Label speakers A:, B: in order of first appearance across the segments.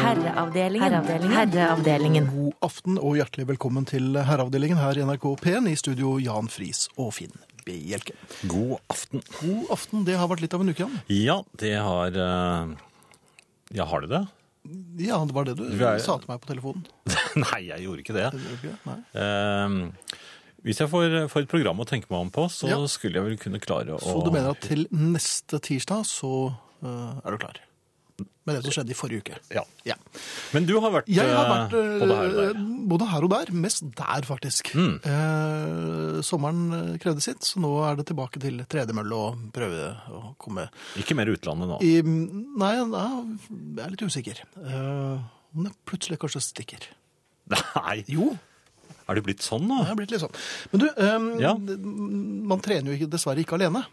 A: Herreavdelingen. Herreavdelingen.
B: God aften og hjertelig velkommen til Herreavdelingen her i NRK P1 i studio Jan Friis og Finn Bjelke.
C: God aften.
B: God aften, det har vært litt av en uke, Jan.
C: Ja, det har eh, Ja, har det det?
B: Ja, det var det du
C: Vi er-
B: sa til meg på telefonen.
C: Nei, jeg gjorde ikke det.
B: Gjorde du ikke det? Nei.
C: Eh, hvis jeg får, får et program å tenke meg om på, så
B: Ja.
C: skulle jeg vel kunne klare å
B: Så du mener at til neste tirsdag så eh, er du klar? Med det som skjedde i forrige uke.
C: Ja.
B: Ja.
C: Men du har vært,
B: Jeg har
C: eh,
B: vært eh,
C: både her og der. Mm.
B: både her og der. Mest der, faktisk. Eh, sommeren eh, krevde sitt, så nå er det tilbake til tredemølle og prøve å komme
C: Ikke mer utlandet nå.
B: I, nei, ja, jeg er litt usikker. Eh, Om det plutselig kanskje stikker.
C: Nei,
B: Jo,
C: er det blitt sånn nå?
B: det er blitt litt sånn. Men du, eh,
C: Ja.
B: d- man trener jo ikke, dessverre ikke alene.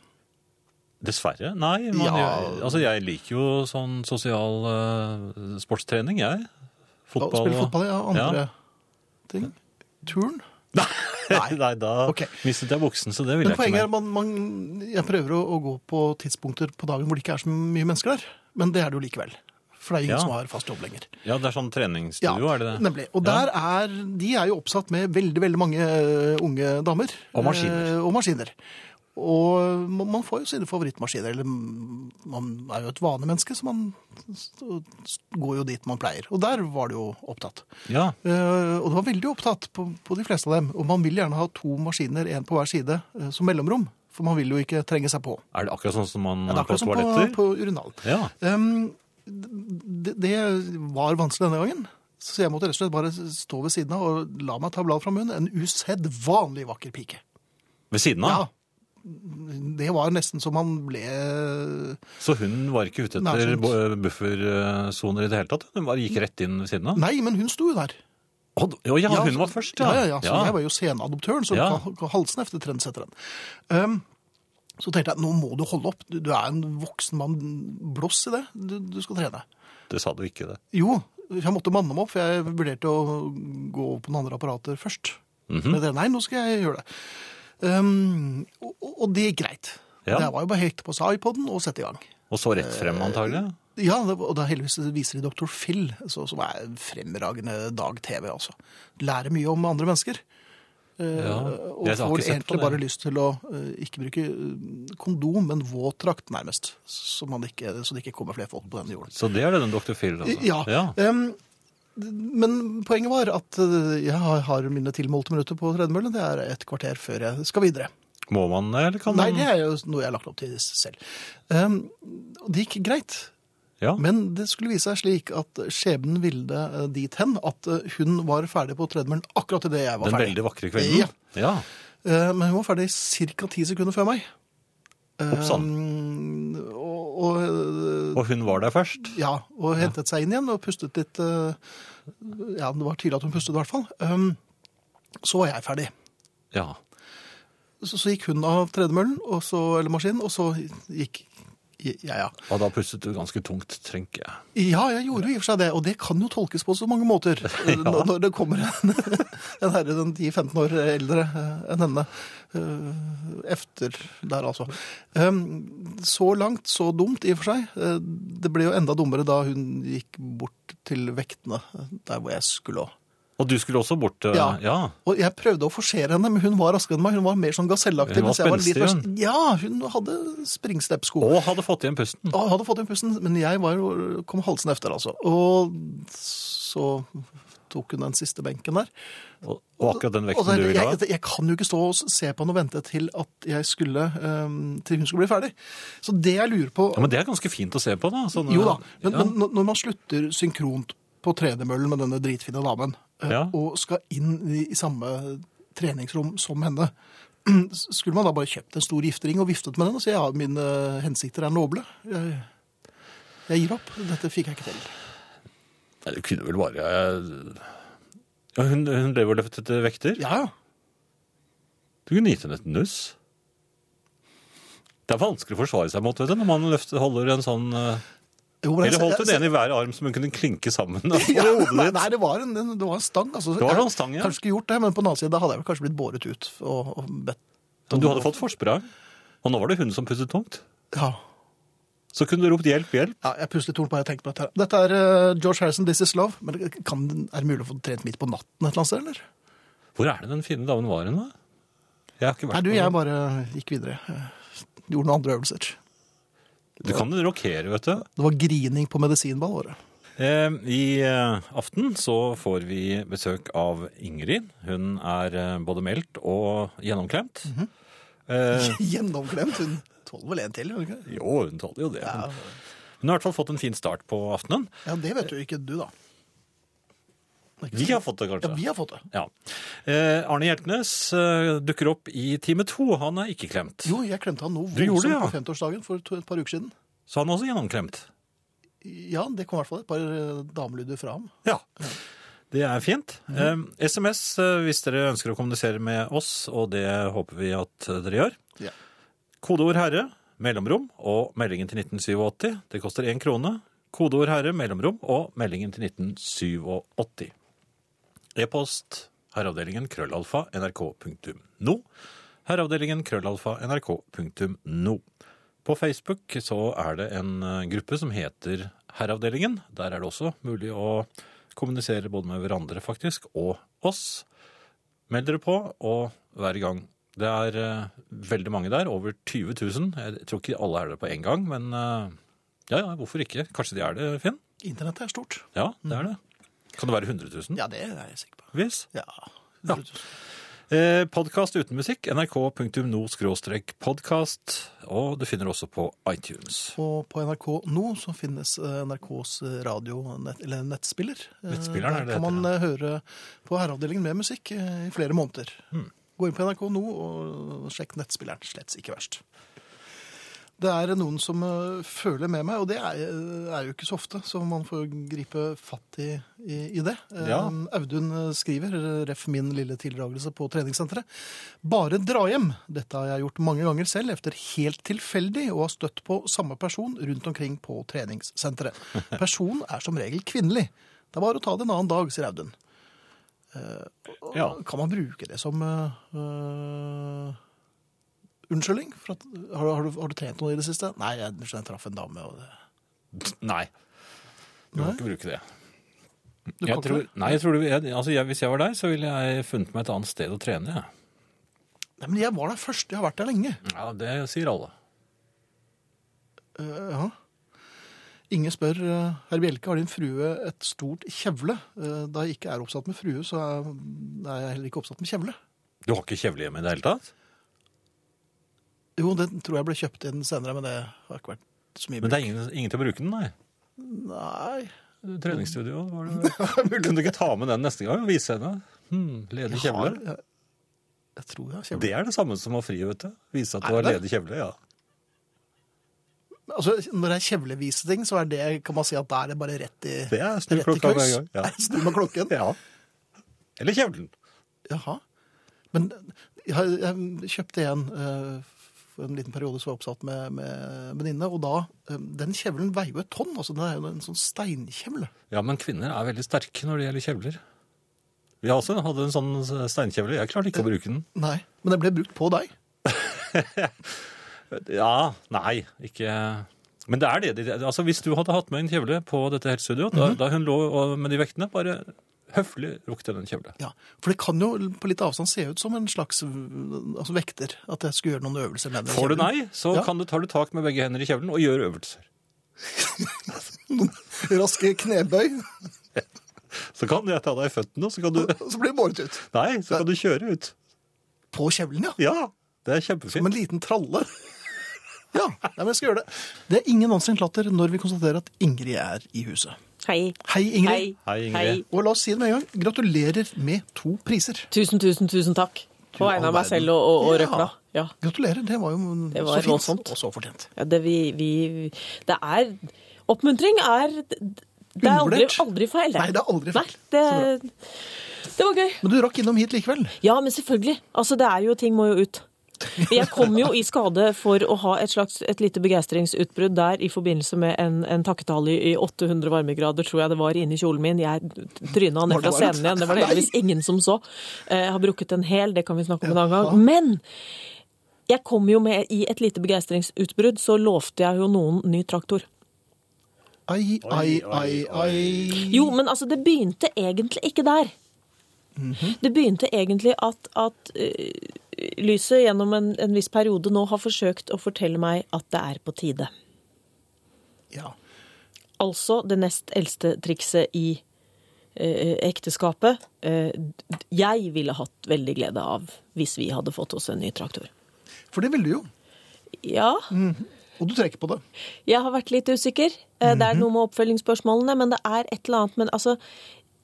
C: Dessverre. Nei, man
B: Ja.
C: gjør, altså jeg liker jo sånn sosial eh, sportstrening, jeg.
B: Da
C: Fotball.
B: spiller
C: og-
B: fotball, ja. Andre
C: Ja.
B: ting. Turn.
C: Nei, Nei, da
B: Ok.
C: mistet jeg buksen, så det vil
B: Men
C: jeg ikke
B: poenget er
C: mer.
B: at man, man, jeg prøver å, å gå på tidspunkter på dagen hvor det ikke er så mye mennesker der. Men det er det jo likevel. For det er ingen
C: Ja.
B: som har fast jobb lenger.
C: Ja, det er sånn treningsstudio, er det det?
B: Nemlig. Og der er, de er jo oppsatt med veldig, veldig mange eh, unge damer.
C: Og maskiner.
B: Eh, og maskiner. Og man, man får jo sine favorittmaskiner, eller mm, man er jo et vanemenneske, så man s- s- går jo dit man pleier. Og der var det jo opptatt.
C: Ja.
B: Eh, og det var veldig opptatt på, på de fleste av dem. Og man vil gjerne ha to maskiner, én på hver side, eh, som mellomrom. For man vil jo ikke trenge seg på.
C: Er det akkurat sånn som man
B: Det er
C: på
B: akkurat som på,
C: toaletter?
B: på urinalen.
C: Ja.
B: Um, det, det var vanskelig denne gangen. Så jeg måtte rett og slett bare stå ved siden av og la meg ta bladet fra munnen. En usedvanlig vakker pike.
C: Ved siden av?
B: Det var nesten som han ble
C: Så hun var ikke ute etter
B: Nærsynt.
C: bu- buffersoner i det hele tatt? Hun bare
B: Mm.
C: gikk rett inn ved siden av?
B: Nei, men hun sto jo der.
C: Å, d- å ja, hun
B: så-
C: var først,
B: ja. Ja, ja, Så jeg var jo senadoptøren, så
C: Ja.
B: ka- halsen efter trendsetteren. Um, så tenkte jeg, nå må du holde opp. Du, du er en voksen mann. Blås i det. Du, du skal trene.
C: Det sa du ikke, det.
B: Jo, jeg måtte manne meg opp, for jeg vurderte å gå over på noen andre apparater først.
C: Mhm.
B: Men jeg tenkte, nei, nå skal jeg gjøre det. Um, og, og det gikk greit.
C: Ja.
B: Det var jo bare helt på seg iPoden og sette i gang.
C: Og så rett frem,
B: Eh,
C: antagelig?
B: Ja, det, og da heldigvis viser de Dr. Phil, så, som er en fremragende dag-TV, altså. Lærer mye om andre mennesker. Eh,
C: Ja,
B: og
C: jeg har
B: får
C: ikke sett på
B: egentlig
C: det.
B: bare lyst til å eh, ikke bruke eh, kondom, men våtdrakt nærmest. Så, man ikke, så det ikke kommer flere folk på denne jorden.
C: Så det er det den dr. Phil, altså?
B: Ja. em, men poenget var at eh, jeg har har mine tilmålte minutter på tredemøllen. Det er et kvarter før jeg skal videre.
C: Må man det, eller kan
B: Nei,
C: man
B: det er jo noe jeg har lagt opp til selv. Em, og det gikk greit,
C: ja.
B: men det skulle vise seg slik at skjebnen ville det eh, dit hen at eh, hun var ferdig på tredemøllen akkurat idet jeg var
C: Den
B: ferdig.
C: veldig vakre kvelden?
B: Ja.
C: ja.
B: Eh, Men hun var ferdig ca. ti sekunder før meg.
C: Opp
B: Eh,
C: sann.
B: Em, og, og eh,
C: Og hun var der først?
B: Ja, og hentet seg inn igjen og pustet litt. eh, Ja, det var tydelig at hun pustet i hvert fall. Um, Så var jeg ferdig.
C: Ja.
B: Så, så gikk hun av tredemøllen, og så, eller maskinen, og så gikk jeg ja, ja.
C: Og da pustet du ganske tungt, tenker jeg.
B: Ja, jeg gjorde jo i og for seg det, og det kan jo tolkes på så mange måter. Når når det kommer en, en herre den 10-15 år eldre eh, enn henne, eh, efter der altså. Um, Så langt, så dumt i og for seg. Eh, Det ble jo enda dummere da hun gikk bort til vektene, eh, der hvor jeg skulle også.
C: Og du skulle også bort eh,
B: Ja.
C: ja.
B: Og jeg prøvde å forsere henne, men hun var raskere enn meg. Hun var mer sånn gasellaktig.
C: Hun
B: mens
C: var
B: jeg litt
C: spenstig,
B: rask- Ja, hun hadde springstep-sko.
C: Og hadde fått igjen pusten.
B: Ja, Ah, Jeg hadde fått inn pusten, men jeg var jo, kom halsen efter, altså. Og så tok hun den siste benken der.
C: Og, og akkurat den
B: Og så-
C: vekten du ville ha.
B: jeg, jeg kan jo ikke stå og se på henne og vente til, at jeg skulle, eh, til hun skulle bli ferdig. Så det jeg lurer på
C: Ja, men det er ganske fint å se på, da. Sånne,
B: Jo da, men,
C: ja.
B: men når- når man slutter synkront på tredemøllen med denne dritfine damen, eh,
C: Ja.
B: og skal inn i, i samme treningsrom som henne, skulle man da bare kjøpt en stor giftering og viftet med den og si ja, mine hensikter er noble? Jeg, jeg gir opp. Dette fikk jeg ikke til.
C: Nei, det kunne vel bare ja, Hun, hun lever og løftet etter vekter.
B: Ja, ja.
C: Du kunne gitt henne et nuss. Det er vanskelig å forsvare seg mot vet du, når man løfter, holder en sånn eh,
B: Jo, men jeg-
C: Eller holdt hun
B: jeg-
C: ene i hver arm som hun kunne klinke sammen over
B: Ja,
C: hodet
B: nei,
C: ditt.
B: nei, det var en, en- det var en stang. Altså.
C: Det var sånn stang, ja.
B: Kanskje ikke gjort det, men på den annen side da hadde jeg vel kanskje blitt båret ut og, og bedt
C: Men Du hadde fått forsprang. Og nå var det hun som pustet tungt.
B: Ja.
C: så kunne du ropt 'hjelp, hjelp'.
B: Ja, jeg puslet torn bare jeg tenkte på dette. her. Dette er eh, George Harrison, 'This Is Love'. Men kan, er det mulig å få trent midt på natten et eller annet sted, eller?
C: Hvor er det den fine damen var hen, da? Jeg har ikke vært
B: Nei, du,
C: på den.
B: jeg bare gikk videre. Jeg Gjorde noen andre øvelser.
C: Du kan jo rokere, vet du.
B: Det var grining på medisinball, var det.
C: Eh, I eh, aften så får vi besøk av Ingrid. Hun er eh, både meldt og gjennomklemt. eh,
B: Gjennomklemt. Hun tåler vel en til? gjør hun ikke det?
C: jo, hun tåler jo det.
B: Ja.
C: Hun hun har i hvert fall fått en fin start på aftenen.
B: ja, det vet jo ikke du, da. Det er ikke
C: Vi
B: sant.
C: har fått det,
B: ja,
C: kanskje.
B: vi har fått det.
C: Ja. Eh, Arne Hjeltnes eh, dukker opp i time to. Han er ikke klemt.
B: Jo, jeg klemte han noe
C: Du gjorde det,
B: voldsomt
C: ja.
B: på 50-årsdagen for to, et par uker siden.
C: Så han er også gjennomklemt.
B: Ja, det kom i hvert fall et par eh, damelyder fra ham.
C: Ja. Det er fint. Eh, SMS eh, hvis dere ønsker å kommunisere med oss, og det håper vi at eh, dere gjør.
B: Ja.
C: Kodeord herre, mellomrom og meldingen til 1987. Det koster én krone. Kodeord herre, mellomrom og meldingen til 1987. E-post herreavdelingen krøllalfa nrk.no. Herreavdelingen krøllalfa nrk.no. På Facebook så er det en eh, gruppe som heter Herreavdelingen. Der er det også mulig å kommunisere både med hverandre faktisk, og oss. Meld dere på, og vær i gang. Det er eh, veldig mange der, over 20 000. Jeg tror ikke alle er der på en gang, men eh, ja, ja, hvorfor ikke? Kanskje de er det, Finn?
B: Internettet er stort.
C: Ja, det er det. Kan det være 100 000?
B: Mhm. Ja, det er jeg sikker på.
C: Hvis.
B: Ja.
C: Ja. Eh, podcast uten musikk, nrk.no-podcast, og du finner også på iTunes.
B: Og på NRK nå så finnes eh, NRKs radio- nett, eller nettspiller. Eh,
C: Nettspilleren er
B: Der
C: det
B: kan
C: heter,
B: man eh, høre på herreavdelingen med musikk eh, i flere måneder.
C: Hmm.
B: Gå inn på NRK nå og sjekk nettspilleren. Slett ikke verst. Det er noen som eh, føler med meg, og det er, eh, er jo ikke så ofte, så man får gripe fatt i, i, i det. Eh,
C: Ja.
B: Audun eh, skriver, eh, ref min lille tildragelse på treningssenteret, bare dra hjem. Dette har jeg gjort mange ganger selv, efter helt tilfeldig, og har støtt på samme person rundt omkring på treningssenteret. Personen er som regel kvinnelig. Det er bare å ta det en annen dag, sier Audun. Eh, Og
C: Ja.
B: Kan man bruke det som eh, eh, unnskyldning? For at, har, du- har, du, har du trent noe i det siste? Nei, jeg, jeg traff en dame. Og det.
C: Nei. Du må
B: Nei?
C: ikke bruke det.
B: Du kan
C: Jeg
B: ikke
C: tror,
B: det?
C: nei, jeg tror du, jeg, altså jeg, Hvis jeg var deg, så ville jeg funnet meg et annet sted å trene. jeg.
B: Nei, men jeg var der først. Jeg har vært der lenge.
C: Ja, Det sier alle.
B: Eh, ja. Ingen spør eh, Herr Bjelke, har din frue et stort kjevle? Eh, da jeg ikke er oppsatt med frue, så er, er jeg heller ikke oppsatt med kjevle.
C: Du har ikke kjevle hjemme i det hele tatt?
B: Jo, den tror jeg ble kjøpt inn senere, men det har ikke vært så mye
C: Men det er ingen, ingen til å bruke den, nei.
B: bruk. Nei.
C: Treningsstudio var det vel. Kunne du ikke ta med den neste gang og vise henne? Hmm, ledig
B: Jeg har-
C: kjevle.
B: Jeg, jeg tror jeg har kjevle.
C: Det er det samme som å fri, vet du. Vise at du
B: Er
C: har
B: det?
C: ledig kjevle. ja.
B: Altså, når det er kjevleviseting, så er det, kan man si at da er det bare rett i
C: Det er snu
B: rett i
C: klokka
B: kryss.
C: hver gang. Ja.
B: Snu med klokken.
C: ja. Eller kjevlen.
B: Jaha. Men jeg, har- jeg kjøpte en eh, for en liten periode som var jeg oppsatt med med en venninne, og da eh, Den kjevlen veier jo et tonn. altså Den er jo en sånn steinkjevle.
C: Ja, men kvinner er veldig sterke når det gjelder kjevler. Vi har også hadde en sånn steinkjevle. Jeg klarte ikke å bruke den.
B: Nei. Men den ble brukt på deg.
C: Ja, nei, ikke Men det er det. de- Altså, hvis du hadde hatt med en kjevle på dette helsestudioet,
B: Mhm.
C: da, da hun lå og- med de vektene, bare høflig rukk til den kjevle.
B: Ja. For det kan jo på litt avstand se ut som en slags eh, altså, vekter. At jeg skulle gjøre noen øvelser med den.
C: Får du
B: kjevlen.
C: nei, så
B: Ja.
C: kan du, tar du tak med begge hender i kjevlen og gjør øvelser.
B: Raske knebøy,
C: Så kan jeg ta deg i føttene, og så kan du
B: og så blir det båret ut.
C: Nei, så kan du kjøre ut.
B: På kjevlen, ja.
C: Ja, det er
B: Som
C: kjempefint.
B: en liten tralle. Ja, nei, men jeg skal gjøre det. Det er ingen Nansen Klatter når vi konstaterer at Ingrid er i huset.
A: Hei.
B: Hei, Ingrid.
C: Hei, Ingrid.
B: Og la oss si det med en gang. Gratulerer med to priser.
A: Tusen, tusen, tusen takk. På vegne av meg selv og, og, og røkla. Ja.
B: Gratulerer. Det var jo
A: Det var
B: så fint.
A: voldsomt.
B: Og så fortjent.
A: Ja, det, vi, vi, det er Oppmuntring er Det er aldri,
B: Undervurdert.
A: aldri feil. det.
B: Nei, det er aldri feil.
A: Nei, det, det var gøy.
B: Men du rakk innom hit likevel.
A: Ja, men selvfølgelig. Altså, det er jo Ting må jo ut. Jeg kom jo i skade for å ha et slags et lite begeistringsutbrudd der i forbindelse med en, en takketale i, i 800 varmegrader, tror jeg det var, inni kjolen min. Jeg tryna
B: Var
A: ned
B: det
A: fra
B: varmt?
A: scenen igjen. Det var det
B: Nei.
A: heldigvis ingen som så. Eh, Jeg har brukket en hæl, det kan vi snakke om en annen gang. Men Jeg kom jo med i et lite begeistringsutbrudd, så lovte jeg jo noen ny traktor.
B: Ai, ai, ai, ai.
A: Jo, men altså, det begynte egentlig ikke der. Det begynte egentlig at, at eh, lyset gjennom en, en viss periode nå har forsøkt å fortelle meg at det er på tide.
B: Ja.
A: Altså det nest eldste trikset i eh, ekteskapet. Eh, d- jeg ville hatt veldig glede av hvis vi hadde fått oss en ny traktor.
B: For det ville du jo.
A: Ja,
B: Og du trekker på det.
A: jeg har vært litt usikker. Eh,
B: Mhm.
A: Det er noe med oppfølgingsspørsmålene, men det er et eller annet. Men altså,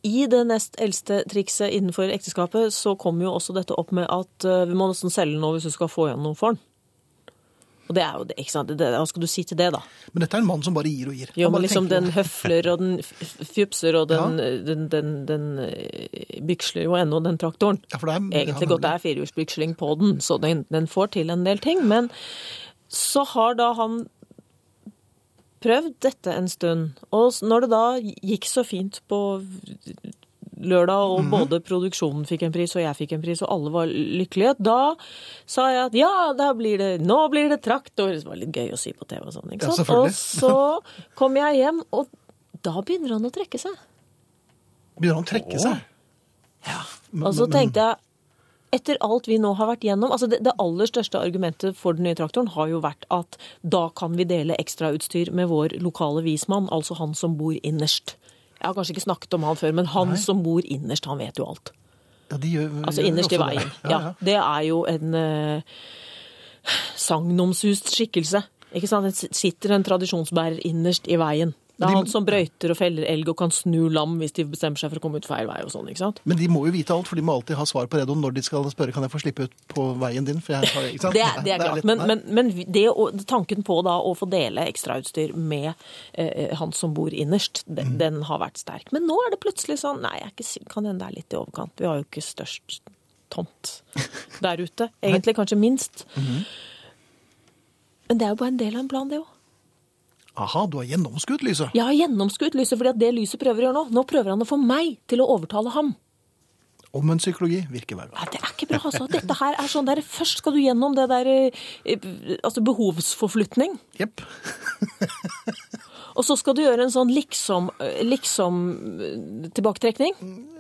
A: i det nest eldste trikset innenfor ekteskapet så kom jo også dette opp med at eh, vi må nesten selge den nå hvis du skal få igjen noe for den. Og det er jo det, ikke sant? Det- det- Hva skal du si til det, da?
B: Men dette er en mann som bare gir og gir.
A: Jo,
B: Han
A: men
B: bare
A: liksom
B: tenker
A: den høfler, og den f- f- fjupser, og den, den, den, den eh, byksler jo ennå, den traktoren.
B: Ja, for det er-
A: Egentlig
B: ja,
A: godt det er firehjulsbyksling på den, så den, den får til en del ting. Men så har da han prøvd dette en stund, og s- når det da gikk så fint på lørdag, og
B: Mhm.
A: både produksjonen fikk en pris, og jeg fikk en pris, og alle var lykkelige, da sa jeg at ja, da blir det, nå blir det traktor. Det var litt gøy å si på TV og sånn. ikke
B: Ja,
A: sant?
B: selvfølgelig.
A: og så kom jeg hjem, og da begynner han å trekke seg.
B: Begynner han å trekke seg?
A: Og så tenkte jeg, etter alt vi nå har vært gjennom altså det, det aller største argumentet for den nye traktoren har jo vært at da kan vi dele ekstrautstyr med vår lokale vismann, altså han som bor innerst. Jeg har kanskje ikke snakket om han før, men han som bor innerst, han vet jo alt.
B: Ja, de gjør,
A: Altså
B: gjør
A: innerst
B: også
A: i
B: det.
A: veien. Ja, det er jo en eh, sagnomsust skikkelse. Ikke sant? Det s- sitter en tradisjonsbærer innerst i veien. Det
B: De-
A: er han som brøyter og feller elg og kan snu lam hvis de bestemmer seg for å komme ut feil vei og sånn, ikke sant?
B: Men de må jo vite alt, for de må alltid ha svar på radioen når de skal spørre kan jeg få slippe ut på veien din. For jeg har, ikke sant?
A: Det, er- det er klart.
B: litt-
A: Men,
B: nei.
A: men, men vi- det å, tanken på da å få dele ekstrautstyr med eh, han som bor innerst, den, den har vært sterk. Men nå er det plutselig sånn Nei, jeg er ikke, si- kan hende det er litt i overkant. Vi har jo ikke størst tomt der ute. Egentlig kanskje minst. Men det er jo bare en del av en plan, det òg.
B: Aha, du har gjennomskudd, Lyse.
A: Jeg har gjennomskuet lyset fordi at det lyset prøver å gjøre nå. Nå prøver han å få meg til å overtale ham.
B: Om en psykologi virker verre.
A: Nei, det er ikke bra, altså. Dette her er sånn der Først skal du gjennom det der eh, Altså behovsforflytning.
B: Jepp.
A: Og så skal du gjøre en sånn liksom, liksom eh, tilbaketrekning,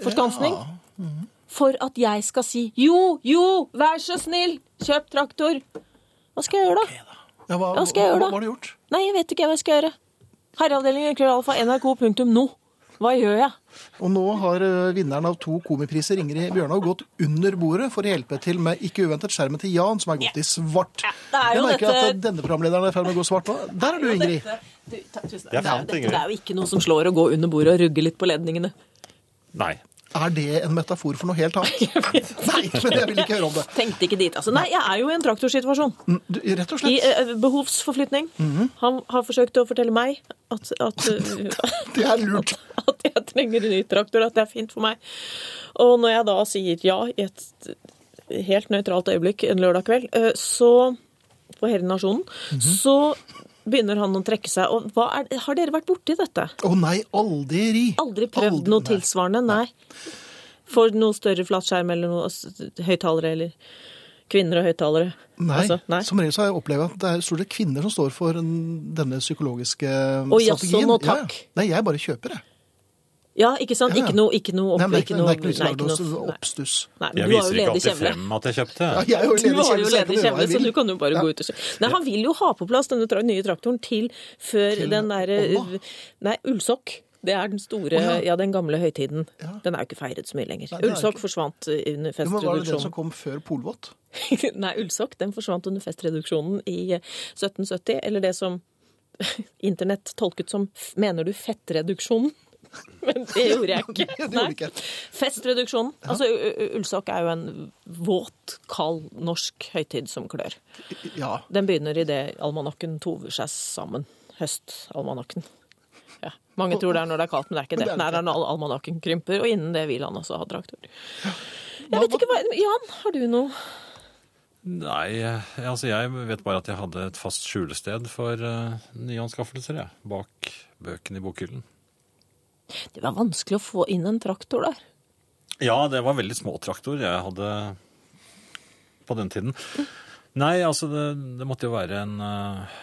A: forstansning,
B: Mm.
A: for at jeg skal si jo, jo, vær så snill, kjøp traktor. Hva skal jeg gjøre da?
B: Ja, hva,
A: Hva skal jeg gjøre da?
B: Hva, hva har du gjort?
A: Nei, jeg vet ikke hva jeg skal gjøre. Herreavdelingen krøllalfa nrk.no. Hva gjør jeg?
B: Og nå har eh, vinneren av to komipriser, Ingrid Bjørnov, gått under bordet for å hjelpe til med Ikke uventet skjermen til Jan, som er gått i svart.
A: det er jo
B: jeg merker
A: dette-
B: at denne programlederen er i ferd med å gå svart nå. Der er du, Ingrid.
C: Jeg fant
A: Dette
C: Ingrid.
A: det er jo ikke noe som slår å gå under bordet og rugge litt på ledningene.
C: Nei.
B: Er det en metafor for noe helt annet? Nei, men jeg vil ikke høre om det.
A: Tenkte ikke dit, altså. Nei, jeg er jo i en traktorsituasjon.
B: Mm, Du, rett og
A: I
B: slett.
A: eh, behovsforflytning.
B: Mhm.
A: Han har forsøkt å fortelle meg at, at eh,
B: Det er lurt.
A: at jeg trenger en ny traktor, at det er fint for meg. Og når jeg da sier ja i et helt nøytralt øyeblikk en lørdag kveld, eh, så på hele nasjonen,
B: Mhm.
A: så begynner han å trekke seg. Og hva er, har dere vært borti dette?
B: Å nei, aldri.
A: Aldri prøvd
B: Aldri,
A: noe
B: nei.
A: tilsvarende, nei. For noe større flatskjerm eller noe s- høyttalere eller kvinner og høyttalere.
B: Nei,
A: Altså, nei.
B: som regel så har jeg opplevd at det er stort sett kvinner som står for en- denne psykologiske
A: Å, jaså,
B: strategien.
A: nå
B: Ja, ja.
A: takk.
B: Nei, jeg bare kjøper, jeg.
A: Ja, ikke sant?
B: Ja, ja.
A: Ikke noe, ikke noe opp,
B: Nei, men det er ikke,
A: ikke noe
B: det er ikke noe som
A: nei, ikke
B: lager
A: noe-
B: noe
A: nei.
B: oppstuss.
A: Nei,
C: Jeg
A: men du har jo
C: viser ikke
A: ledig
C: alltid
A: kjevle.
C: frem at jeg kjøpte.
B: Ja, jeg er jo
A: Du
B: ledig kjevle,
A: har jo
B: så jeg kan gjøre
A: ledig
B: hva
A: kjevle,
B: jeg
A: så
B: vil.
A: du kan jo bare
B: Ja.
A: gå ut og kjøpe. Nei, han vil jo ha på plass denne tra- nye traktoren til før
B: Til
A: den derre
B: Olma?
A: Nei, ullsokk. Det er den store,
B: Å, ja.
A: ja. den gamle høytiden.
B: Ja.
A: Den er jo ikke feiret så mye lenger.
B: Nei, det er
A: Ullsokk
B: ikke.
A: forsvant eh, under
B: Jo, Men var det den som
A: festreduksjonen.
B: kom før Polvott?
A: Nei, ullsokk den forsvant under festreduksjonen i 1770, eller det som internett tolket som f- Mener du fettreduksjonen? Men det gjorde jeg ikke.
B: Det gjorde
A: Nei.
B: ikke jeg.
A: Festreduksjonen. Altså, u- u- ullsokk er jo en våt, kald norsk høytid som klør.
B: Ja.
A: Den begynner idet almanakken tover seg sammen. Høstalmanakken. Ja. Mange tror det er når det er kaldt, men det er ikke det.
B: Men det er
A: Det
B: det
A: er
B: ikke.
A: når almanakken krymper, og innen det vil han også ha traktor. Jeg
B: Hva-
A: vet ikke hva Jan, har du noe?
C: Nei, eh, altså jeg vet bare at jeg hadde et fast skjulested for eh, nyanskaffelser, jeg. Bak bøkene i bokhyllen.
A: Det var vanskelig å få inn en traktor der.
C: Ja, det var veldig små traktor jeg hadde på den tiden. Nei, altså, det, det måtte jo være en eh,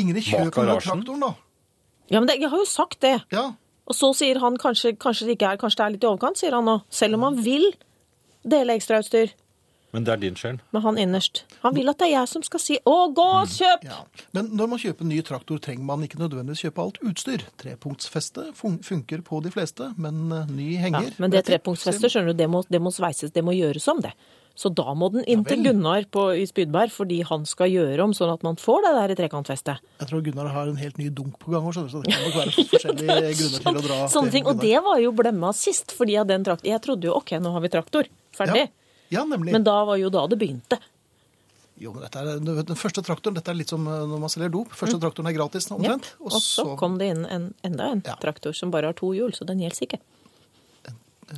B: Ingrid, kjøp den der
C: garasjen?
B: traktoren, da.
A: Ja, men det, jeg har jo sagt det.
B: Ja.
A: Og så sier han kanskje, kanskje det ikke er, kanskje det er litt i overkant, sier han nå. Selv om han vil dele ekstrautstyr
C: Men det er din sjel.
A: med han innerst. Han vil at det er jeg som skal si 'Å, gå og kjøp!'
B: Mm. ja. Men når man kjøper en ny traktor, trenger man ikke nødvendigvis kjøpe alt utstyr. Trepunktsfeste fun funker på de fleste, men eh, ny
A: Ja,
B: henger
A: men det trepunktsfestet, skjønner du, det må, det må sveises, det må gjøres om, det. Så da må den inn til
B: vel.
A: Gunnar på, i Spydberg, fordi han skal gjøre om sånn at man får det der trekantfestet.
B: Jeg tror Gunnar har en helt ny dunk på gang, så det kan nok være forskjellige grunner til å dra.
A: Sånn- Sånne
B: til
A: ting. Og
B: Gunnar.
A: det var jo blemma sist, fordi av den traktor... Jeg trodde jo OK, nå har vi traktor. Ferdig.
B: Ja, ja nemlig.
A: Men da var jo da det begynte.
B: Jo, men dette er, den første traktoren, dette er litt som eh, når man selger dop. Første traktoren er gratis,
A: Mm. Jep.
B: omtrent.
A: Og så kom det inn en, enda en
B: Ja.
A: traktor som bare har to hjul, så den gjelder ikke.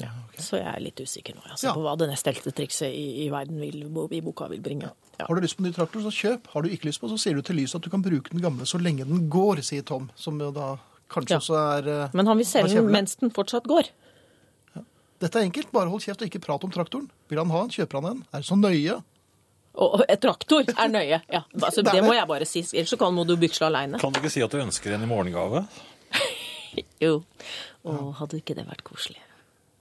B: Ja, ok.
A: Så jeg er litt usikker nå altså,
B: Ja.
A: på hva det neste eldste trikset i, i verden vil, i boka vil bringe. Ja.
B: Har du lyst på en ny traktor, så kjøp. Har du ikke lyst på, så sier du til lyset at du kan bruke den gamle så lenge den går, sier Tom. Som jo da kanskje
A: Ja.
B: også er eh,
A: Men han vil
B: er
A: selge den
B: kjempe-
A: mens den fortsatt går.
B: Dette er enkelt. Bare hold kjeft og ikke prat om traktoren. Vil han ha den, kjøper han en. Er det så nøye?
A: Og og et traktor er nøye. Ja, altså,
B: Det er
A: det må
B: det.
A: jeg bare si. Ellers så kan må du byksle aleine.
C: Kan du ikke si at du ønsker en i morgengave?
A: Jo. Å, hadde ikke det vært koselig?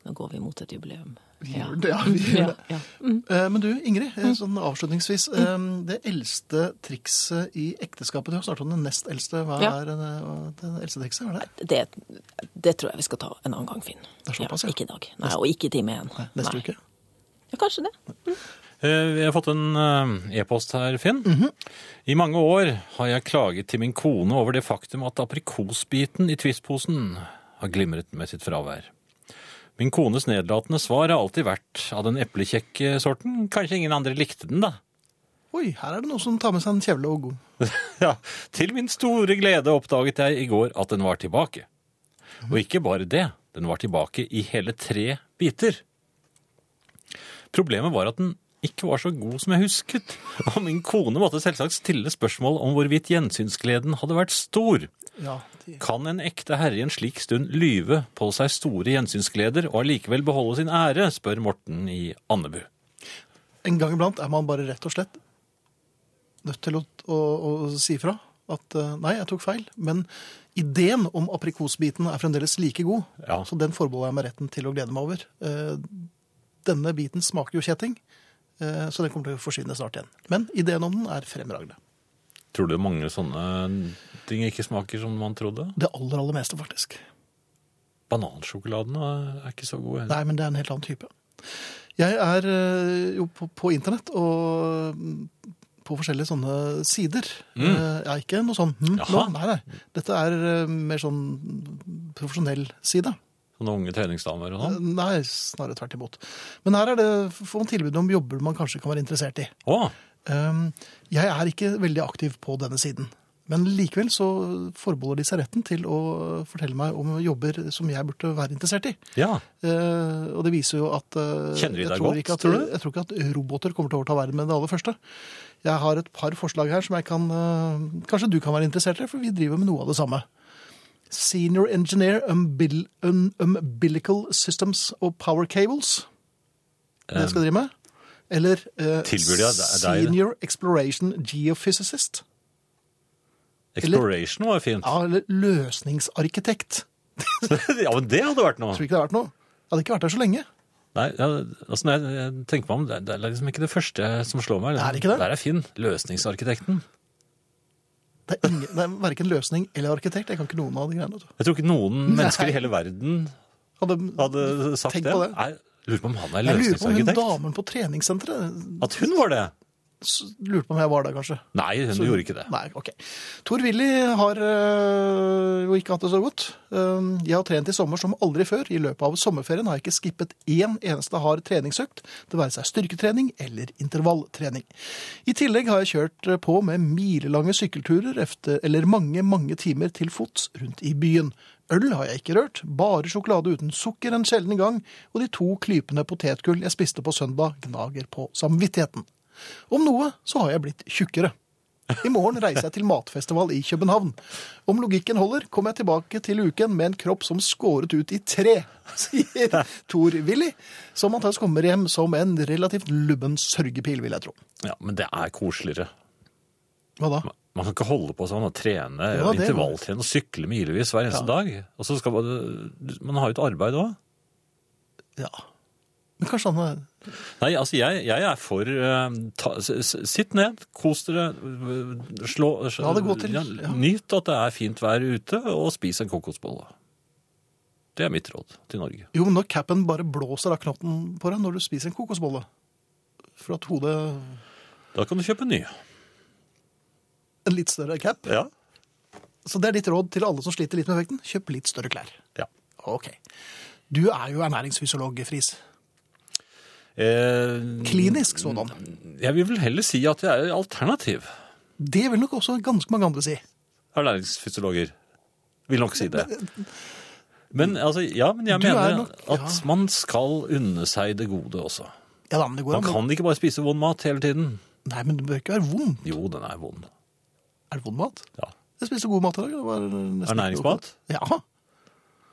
A: Nå går vi mot et jubileum.
B: Vi
A: Ja.
B: gjør det, ja, vi gjør
A: Ja,
B: det.
A: ja. Mm.
B: Eh, Men du, Ingrid, eh, sånn avslutningsvis. eh, Det eldste trikset i ekteskapet Du har snart om det nest eldste. Hva
A: Ja.
B: er eh, det eldste trikset? Hva er det?
A: Det, det tror jeg vi skal ta en annen gang, Finn.
B: Det er såpass, ja.
A: Ikke i dag. Nei, og ikke i time én.
B: Neste
A: Nei.
B: uke?
A: Ja, kanskje det.
C: Eh, Vi har fått en eh, e-post her, Finn. I mange år har jeg klaget til min kone over det faktum at aprikosbiten i Twist-posen har glimret med sitt fravær. Min kones nedlatende svar har alltid vært av den eplekjekke sorten. Kanskje ingen andre likte den, da.
B: Oi, her er det noen som tar med seg en kjevle og god.
C: Ja, til min store glede oppdaget jeg i går at den var tilbake. Og ikke bare det, den var tilbake i hele tre biter. Problemet var at den ikke var så god som jeg husket, og min kone måtte selvsagt stille spørsmål om hvorvidt gjensynsgleden hadde vært stor.
B: Ja, de-
C: Kan en ekte herre i en slik stund lyve på seg store gjensynsgleder og allikevel beholde sin ære, spør Morten i Andebu.
B: En gang iblant er man bare rett og slett nødt til å, å, å si fra at eh, nei, jeg tok feil. Men ideen om aprikosbiten er fremdeles like god,
C: Ja.
B: så den forbeholder jeg meg retten til å glede meg over. Eh, Denne biten smaker jo kjetting, eh, så den kommer til å forsvinne snart igjen. Men ideen om den er fremragende.
C: Tror du mange sånne ting ikke smaker som man trodde?
B: Det aller, aller meste, faktisk.
C: Banansjokoladen er ikke så god.
B: Nei, men det er en helt annen type. Jeg er eh, jo på, på internett og mm, på forskjellige sånne sider. Eh, Jeg er ikke noe sånn hm, nå,
C: Jaha.
B: nei, nei. Dette er eh, mer sånn profesjonell side.
C: Sånne unge treningsdamer og
B: Eh,
C: sånn.
B: Nei, snarere tvert imot. Men her er det får man tilbud om jobber man kanskje kan være interessert i.
C: Å,
B: Um, Jeg er ikke veldig aktiv på denne siden. Men likevel så forbeholder de seg retten til å fortelle meg om jobber som jeg burde være interessert i.
C: ja.
B: Eh, og det viser jo at eh,
C: Kjenner de
B: jeg
C: deg
B: tror
C: godt,
B: ikke at,
C: tror du?
B: Jeg tror ikke at roboter kommer til å overta verden med det aller første. Jeg har et par forslag her som jeg kan eh, Kanskje du kan være interessert i, for vi driver med noe av det samme. Senior Engineer umbil, um, Umbilical Systems og Power Cables. Det jeg skal drive med. Eller eh,
C: Tilbyr de deg- deg-
B: Senior Exploration Geophysicist.
C: Exploration var fint.
B: Ja, eller løsningsarkitekt.
C: ja, men det hadde vært noe.
B: Tror ikke det har vært noe. Jeg hadde ikke vært der så lenge.
C: Nei, ja, altså, når jeg, jeg tenker meg om, det, det er liksom ikke det første som slår meg.
B: Er det ikke det?
C: Der er Finn, løsningsarkitekten.
B: Det er, ingen, det er verken løsning eller arkitekt. Jeg kan ikke noen av de greiene. vet du.
C: Jeg tror ikke noen mennesker i hele verden
B: Hadde,
C: hadde sagt
B: Tenk
C: det.
B: på det.
C: Nei, jeg lurer på om han er
B: jeg lurer på om hun
C: løsningsarkitekt.
B: damen på treningssenteret
C: At hun var det?
B: s- lurte på om jeg var der, kanskje.
C: Nei, hun gjorde ikke det.
B: Nei, ok. Tor Willy har øh, jo ikke hatt det så godt. Ehm, jeg har trent i sommer som aldri før. I løpet av sommerferien har jeg ikke skippet én eneste hard treningsøkt, det være seg styrketrening eller intervalltrening. I tillegg har jeg kjørt på med milelange sykkelturer efter, eller mange, mange timer til fots rundt i byen. Øl har jeg ikke rørt, bare sjokolade uten sukker en sjelden gang, og de to klypene potetgull jeg spiste på søndag, gnager på samvittigheten. Om noe så har jeg blitt tjukkere. I morgen reiser jeg til matfestival i København. Om logikken holder, kommer jeg tilbake til uken med en kropp som skåret ut i tre, sier Tor Willy, som antakeligvis kommer hjem som en relativt lubben sørgepil, vil jeg tro.
C: Ja, Men det er koseligere.
B: Hva da?
C: Man kan ikke holde på sånn og trene
B: Ja,
C: og
B: det-
C: intervalltrene og sykle milevis hver eneste dag. Og så skal man, man har jo et arbeid òg.
B: Ja. Men kanskje han er
C: Nei, altså jeg, jeg er for eh, ta, s- s- Sitt ned, kos dere, eh, slå
B: La det gå til,
C: ja,
B: ja.
C: Nyt at det er fint vær ute, og spis en kokosbolle. Det er mitt råd til Norge.
B: Jo, men når capen bare blåser av knotten på deg når du spiser en kokosbolle For at hodet
C: Da kan du kjøpe en ny.
B: En litt større cap.
C: Ja.
B: Så det er ditt råd til alle som sliter litt med vekten. Kjøp litt større klær.
C: ja.
B: Ok. Du er jo ernæringsfysiolog, Friis.
C: Eh,
B: Klinisk sådan.
C: Jeg vil vel heller si at jeg er alternativ.
B: Det vil nok også ganske mange andre si.
C: Ernæringsfysiologer vil nok si det. Men altså, ja, men jeg
B: Du er
C: mener
B: nok- ja.
C: at man skal unne seg det gode også.
B: Ja da, men det går
C: Man
B: an.
C: kan ikke bare spise vond mat hele tiden.
B: Nei, men det bør ikke være vond.
C: Jo, den er vond.
B: Er det vond mat?
C: Ja.
B: Jeg spiste god mat i dag. det var nesten ikke
C: Ernæringsmat?
B: noe- Ja.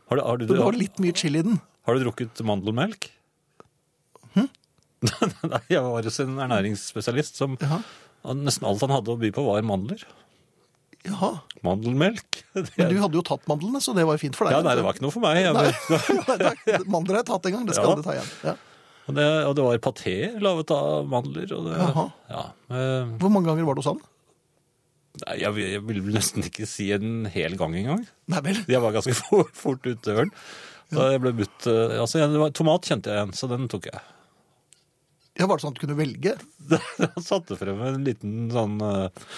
C: Har du, har du,
B: Det var litt mye chili i den.
C: har du drukket mandelmelk?
B: Hm?
C: Nei, jeg var hos en ernæringsspesialist som
B: Jaha.
C: han- nesten alt han hadde å by på, var mandler.
B: Jaha.
C: Mandelmelk. Det,
B: Men du hadde jo tatt mandlene, så det var jo fint for deg.
C: ja, nei, det var ikke noe for meg. Jeg,
B: Nei, takk. Mandler har jeg tatt en gang. Det skal
C: Ja.
B: du ta igjen. Ja.
C: og, det, og det var paté laget av mandler. Og det,
B: Jaha.
C: ja, eh,
B: Hvor mange ganger var det hos han?
C: Nei, jeg, vil- jeg vil nesten ikke si en hel gang engang.
B: Nei vel.
C: Jeg var ganske for, fort ute døren. Så jeg ble budt eh, altså, jeg, det var, Tomat kjente jeg igjen, så den tok jeg.
B: Ja, var det sånn at du kunne velge?
C: Han satte frem en liten sånn eh,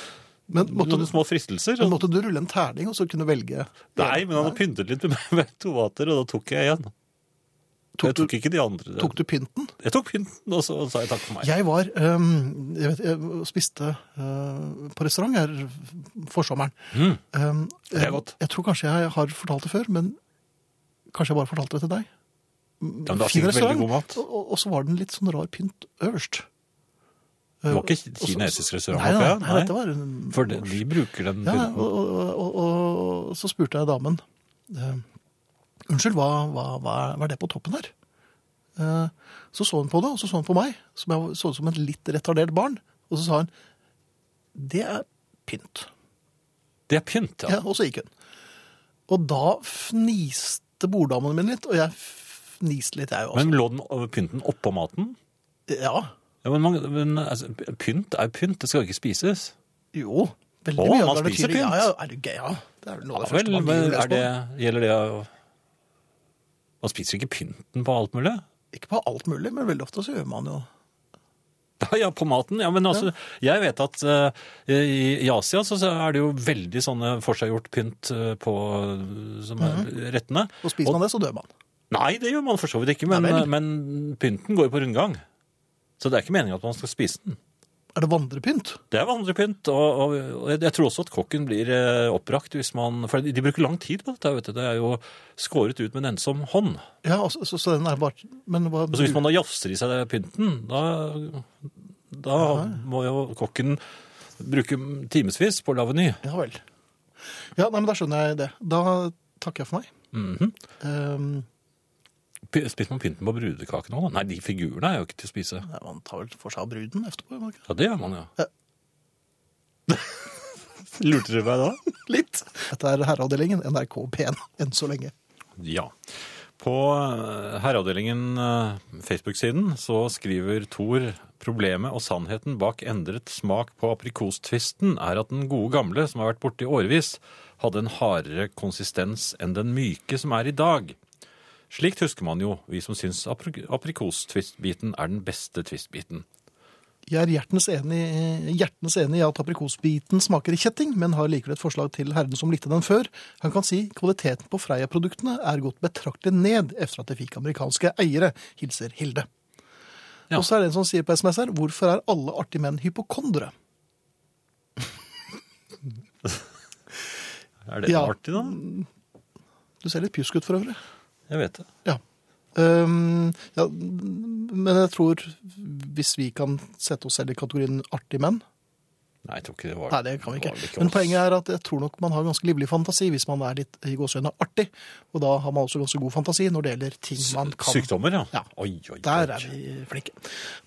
B: Men måtte,
C: Noen små fristelser.
B: men
C: Og,
B: måtte du rulle en terning og så kunne velge?
C: nei, men han hadde pyntet litt med, med tomater, og da tok jeg igjen.
B: Tok
C: jeg
B: du,
C: tok ikke de andre.
B: tok du pynten?
C: Jeg tok pynten, og så og sa jeg takk for meg.
B: Jeg var øhm, jeg vet, jeg spiste øh, på restaurant her forsommeren. Øhm,
C: Mm. Det er godt.
B: Jeg, jeg tror kanskje jeg har fortalt det før, men kanskje jeg bare fortalte det til deg.
C: Ja, men det var sikkert veldig god mat.
B: Og, og- og så var den litt sånn rar pynt øverst.
C: Det var ikke
B: Og så-
C: kinesisk restaurant?
B: Nei, nei,
C: håper jeg?
B: nei, dette var en-
C: For de, de bruker den
B: Ja,
C: pynten.
B: og, og, og, og, og så spurte jeg damen eh, Unnskyld, hva, hva, hva, hva er det på toppen her? Eh, så så hun på det, og så så hun på meg, som jeg så ut som et litt retardert barn. Og så sa hun Det er pynt.
C: Det er pynt,
B: Ja,
C: ja.
B: og så gikk hun. Og da fniste borddamene mine litt, og jeg fniste litt, jeg også.
C: Men lå den over pynten oppå maten?
B: ja.
C: Ja, men, man, men altså, Pynt er pynt, det skal ikke spises.
B: Jo. Veldig
C: Å,
B: mye.
C: man
B: av det er
C: spiser
B: naturlig.
C: pynt.
B: Ja, ja, er det gøy? Ja. Det er sånn. vel noe av det
C: Ja, vel,
B: første man
C: men
B: driver og
C: er det,
B: leser
C: gjelder det å- Man spiser ikke pynten på alt mulig?
B: på. Ikke på alt mulig, men veldig ofte så gjør man jo
C: Ja, på maten. Ja, men altså, jeg vet at eh, i, i Asia så så er det jo veldig sånne forseggjort pynt eh, på eh, som er rettene.
B: Mhm. Og spiser man det, så dør man.
C: Nei, det gjør man for så vidt ikke, men, eh,
B: Nei vel.
C: men pynten går jo på rundgang. Så det er ikke meningen at man skal spise den.
B: Er det vandrepynt?
C: Det er vandrepynt, og, og, og jeg- jeg tror også at kokken blir eh, oppbrakt hvis man For de bruker lang tid på dette, vet du. Det er jo skåret ut med en ensom hånd.
B: Ja, og så, så, så den er bare Men hva
C: Altså, hvis man da jafser i seg pynten, da, da må jo kokken bruke timevis på å lage ny.
B: Ja vel. Ja, nei, men da skjønner jeg det. Da takker jeg for meg.
C: Mhm.
B: Ehm,
C: P- Spiser man pynten på brudekakene òg? Nei, de figurene er jo ikke til å spise.
B: nei, man tar vel for seg av bruden etterpå? gjør man ikke?
C: Ja, det gjør man jo.
B: Ja.
C: Lurte du meg da?
B: Litt. Dette er Herreavdelingen, NRK P1, enn så lenge.
C: Ja. På eh, Herreavdelingen eh, Facebook-siden så skriver Thor problemet og sannheten bak endret smak på aprikostvisten er at den gode gamle, som har vært borte i årevis, hadde en hardere konsistens enn den myke som er i dag. Slikt husker man jo, vi som syns apri- aprikostvistbiten er den beste tvistbiten.
B: Jeg er hjertens enig, eh, hjertens enig i at aprikosbiten smaker i kjetting, men har likevel et forslag til herren som likte den før. Han kan si kvaliteten på Freia-produktene er gått betraktelig ned etter at de fikk amerikanske eiere. Hilser Hilde.
C: Ja.
B: Og så er det en som sier på SMS her hvorfor er alle artige menn hypokondere?
C: Er det
B: Ja.
C: artig, da?
B: Du ser litt pjusk ut for øvrig.
C: Jeg vet det.
B: Ja. Ehm, ja. Men jeg tror hvis vi kan sette oss selv i kategorien artig menn,
C: Nei, jeg tror ikke det var
B: Nei, det kan vi
C: var vel
B: ikke. Men
C: oss.
B: poenget er at jeg tror nok man har ganske livlig fantasi hvis man er litt i gåsøgne artig. Og da har man også ganske god fantasi når det gjelder ting man kan.
C: Sykdommer, ja.
B: Ja.
C: Oi, oi, oi.
B: Der er vi flinke.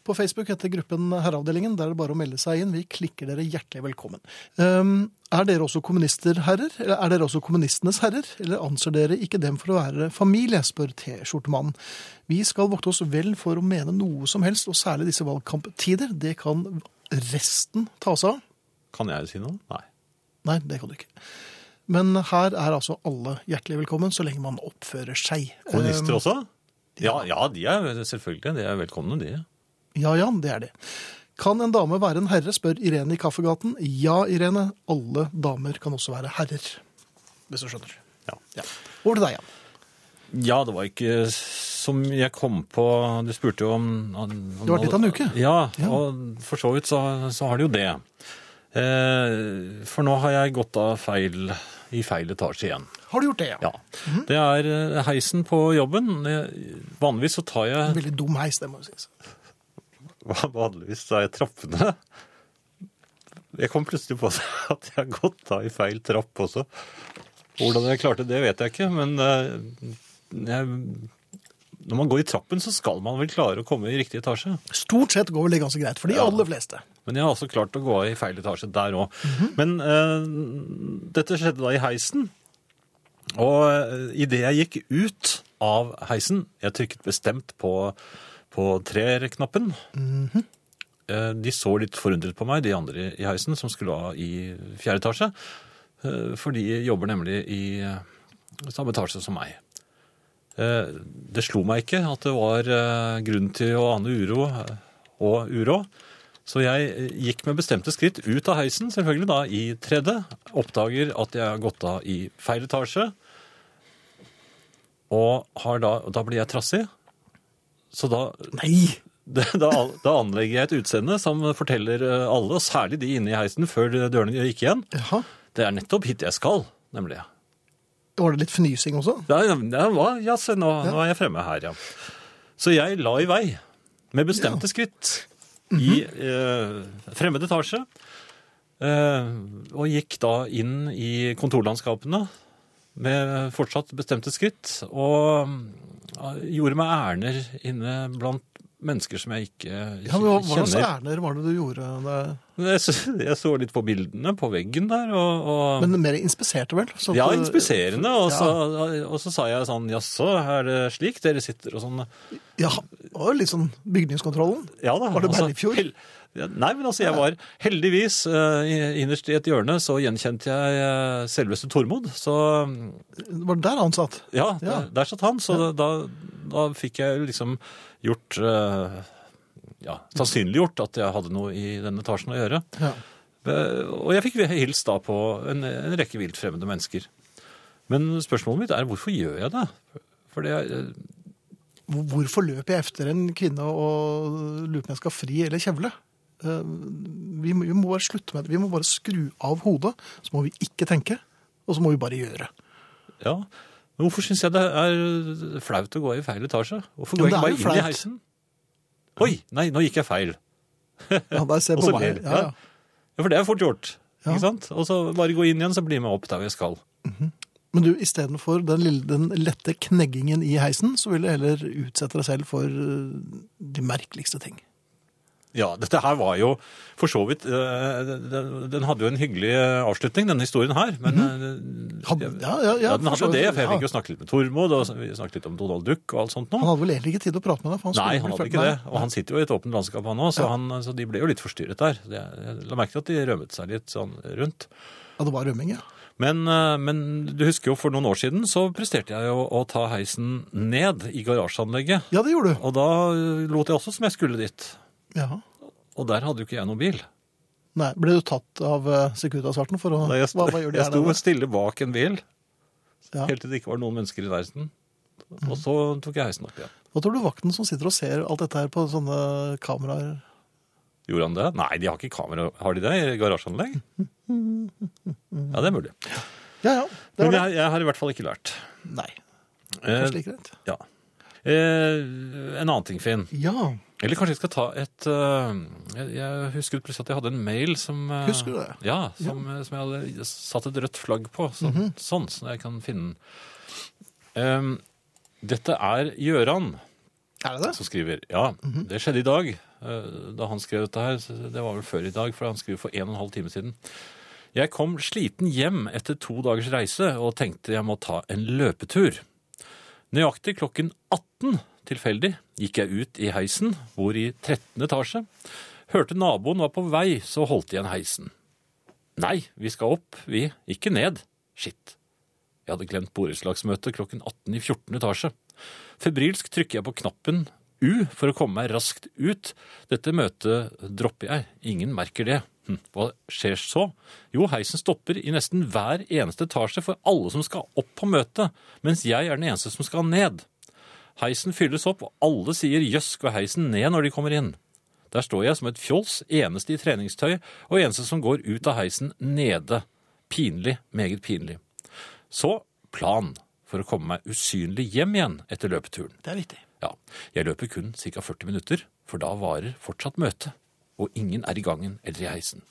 B: På Facebook heter gruppen Herreavdelingen. Der er det bare å melde seg inn. Vi klikker dere hjertelig velkommen. Ehm, er dere også kommunister, herrer? Eller er dere også kommunistenes herrer? Eller anser dere ikke dem for å være familie, spør T-skjortemannen. Vi skal vokte oss vel for å mene noe som helst, og særlig disse valgkamptider. Det kan resten ta seg av.
C: Kan jeg si noe? Nei.
B: Nei, det kan du ikke. Men her er altså alle hjertelig velkommen, så lenge man oppfører seg.
C: Kommunister
B: Ehm,
C: også? Ja, ja, de er selvfølgelig de er velkomne, de.
B: Ja, ja, det er det. Kan en dame være en herre, spør Irene i Kaffegaten. Ja, Irene, alle damer kan også være herrer. Hvis du skjønner.
C: Ja.
B: Ja. Over til deg, Jan.
C: ja, det var ikke som jeg kom på Du spurte jo om, om
B: Det var litt av en uke.
C: Ja,
B: Ja.
C: og for så vidt så, så har det jo det. Eh, for nå har jeg gått av feil, i feil etasje igjen.
B: Har du gjort det, ja?
C: Ja.
B: Mhm.
C: Det er eh, heisen på jobben. Jeg- Vanligvis så tar
B: En
C: jeg
B: Veldig dum heis, det må jo sies.
C: Vanligvis tar jeg trappene. Jeg kom plutselig på at jeg har gått av i feil trapp også. Hvordan jeg klarte det, vet jeg ikke, men eh, jeg, når man går i trappen, så skal man vel klare å komme i riktig etasje.
B: Stort sett går vel det ganske greit for de
C: Ja.
B: aller fleste.
C: Men jeg har også klart å gå av i feil etasje der òg. Men eh, dette skjedde da i heisen. Og eh, i idet jeg gikk ut av heisen Jeg trykket bestemt på, på trer-knappen. Eh, de så litt forundret på meg, de andre i heisen som skulle av i fjerde etasje. eh, for de jobber nemlig i eh, samme etasje som meg. Eh, Det slo meg ikke at det var eh, grunn til å ane uro eh, og uråd. Så jeg eh, gikk med bestemte skritt ut av heisen, selvfølgelig da i tredje. Oppdager at jeg har gått av i feil etasje. Og har da, og da blir jeg trassig. Så da,
B: Nei!
C: da, da anlegger jeg et utseende som forteller eh, alle, og særlig de inne i heisen før dørene gikk igjen,
B: Jaha.
C: det er nettopp hit jeg skal, nemlig.
B: Var det litt fnysing også?
C: Ja, ja, ja, hva? ja se, nå, nå er jeg fremme her, ja. Så jeg la i vei, med bestemte skritt,
B: Mhm.
C: i eh, fremmed etasje, eh, og gikk da inn i kontorlandskapene med fortsatt bestemte skritt, og ja, gjorde meg ærner inne blant mennesker som jeg ikke
B: Ja, men Hva hva slags
C: kjenner.
B: ærender var det du gjorde? der?
C: Jeg så, jeg så litt på bildene på veggen der, og... og
B: Men mer inspiserte, vel? Så
C: ja,
B: at-
C: inspiserende. Og så, og så sa jeg sånn Jaså, er det slik dere sitter? Og sånn.
B: Ja, det var jo litt sånn bygningskontrollen.
C: Ja da.
B: Var det
C: altså,
B: Berlefjord?
C: hel- Ja, Nei, men altså, jeg var heldigvis eh, i- innerst i et hjørne, så gjenkjente jeg eh, selveste Tormod. Så
B: Var det der han satt?
C: ja,
B: Ja.
C: Der, der satt han. Så da, da fikk jeg liksom gjort eh, Ja, sannsynliggjort at jeg hadde noe i denne etasjen å gjøre.
B: Ja.
C: Eh, Og jeg fikk hilst da på en, en rekke vilt fremmede mennesker. Men spørsmålet mitt er hvorfor gjør jeg det? For det er, eh,
B: Hvor- Hvorfor løper jeg efter en kvinne og lurer på om jeg skal ha fri eller kjevle? Eh, Vi må, vi må bare slutte med det. Vi må bare skru av hodet, så må vi ikke tenke, og så må vi bare gjøre.
C: Ja, men hvorfor syns jeg det er eh, flaut å gå i feil etasje? Hvorfor
B: Ja, men det
C: går jeg ikke
B: er
C: bare
B: jo
C: inn i
B: flaut.
C: heisen? Oi, nei, nå gikk jeg feil.
B: Ja, der ser jeg
C: Og
B: på
C: så ler
B: meg.
C: jeg.
B: Ja, ja.
C: Ja, for det er fort gjort.
B: Ja.
C: Ikke sant? Og så bare gå inn igjen, så blir jeg med opp der jeg skal.
B: Men du, istedenfor den, lille- den lette kneggingen i heisen, så vil du heller utsette deg selv for eh, de merkeligste ting.
C: Ja, dette her var jo for så vidt eh, Den den hadde jo en hyggelig eh, avslutning, denne historien her. Men eh,
B: Han, ja, ja, Mhm. ja,
C: ja, den
B: for så
C: hadde det,
B: vidt.
C: for jeg fikk
B: Ja.
C: jo snakke litt med Tormod, og vi snakket litt om Donald Duck og alt sånt nå.
B: Han hadde vel egentlig ikke tid til å prate med deg? For han skulle
C: Nei, han
B: bli
C: hadde
B: ferdig-
C: ikke det.
B: Nei.
C: Og han sitter jo i et åpent landskap, han òg, så,
B: Ja.
C: han- så de ble jo litt forstyrret der. Det- Jeg la merke til at de rømmet seg litt sånn rundt.
B: Ja, det var rømming, ja.
C: Men, eh, men du husker jo for noen år siden så presterte jeg jo å ta heisen ned i garasjeanlegget.
B: Ja, det gjorde du.
C: Og da eh, lot jeg også som jeg skulle dit.
B: Ja.
C: Og der hadde jo ikke jeg noen bil.
B: Nei, Ble du tatt av eh, Securitas-verten for å
C: Da jeg sto,
B: hva, hva gjør de
C: jeg
B: her
C: sto
B: nede?
C: stille bak en bil
B: Ja. Mm.
C: helt til det ikke var noen mennesker i nærheten. Og så tok jeg heisen opp igjen.
B: Hva tror du vakten som sitter og ser alt dette her på sånne kameraer?
C: Gjorde han det? Nei, de har ikke kamera. Har de det i garasjeanlegg? Ja, det er mulig.
B: Ja, ja. Det
C: Men
B: var det.
C: jeg, jeg har i hvert fall ikke lært.
B: Nei,
C: Eh,
B: kanskje like greit.
C: Ja. Eh, en annen ting, Finn.
B: Ja.
C: Eller kanskje jeg skal ta et eh, jeg, jeg husker plutselig at jeg hadde en mail som eh,
B: Husker du det?
C: Ja, som, eh, som jeg hadde satt et rødt flagg på. Så,
B: Mhm.
C: Sånn, så jeg kan finne den. Em, dette er Gjøran
B: Er det det?
C: som skriver. Ja, det skjedde i dag. eh, Da han skrev dette her, så det var vel før i dag, for han skrev for en og en halv time siden. Jeg kom sliten hjem etter to dagers reise og tenkte jeg må ta en løpetur. Nøyaktig klokken 18 tilfeldig gikk jeg ut i heisen, hvor i 13. etasje. Hørte naboen var på vei, så holdt igjen heisen. Nei, vi skal opp, vi, ikke ned. Shit. Jeg hadde glemt borettslagsmøtet klokken 18 i 14. etasje. Febrilsk trykker jeg på knappen U for å komme meg raskt ut. Dette møtet dropper jeg. Ingen merker det. Hm, Hva skjer så? Jo, heisen stopper i nesten hver eneste etasje for alle som skal opp på møtet, mens jeg er den eneste som skal ned. Heisen fylles opp, og alle sier jøss, går heisen ned når de kommer inn. Der står jeg som et fjols, eneste i treningstøy, og eneste som går ut av heisen nede. Pinlig, meget pinlig. Så plan for å komme meg usynlig hjem igjen etter løpeturen.
B: Det er riktig.
C: Ja, jeg løper kun ca. 40 minutter, for da varer fortsatt møtet, og ingen er i gangen eller i heisen.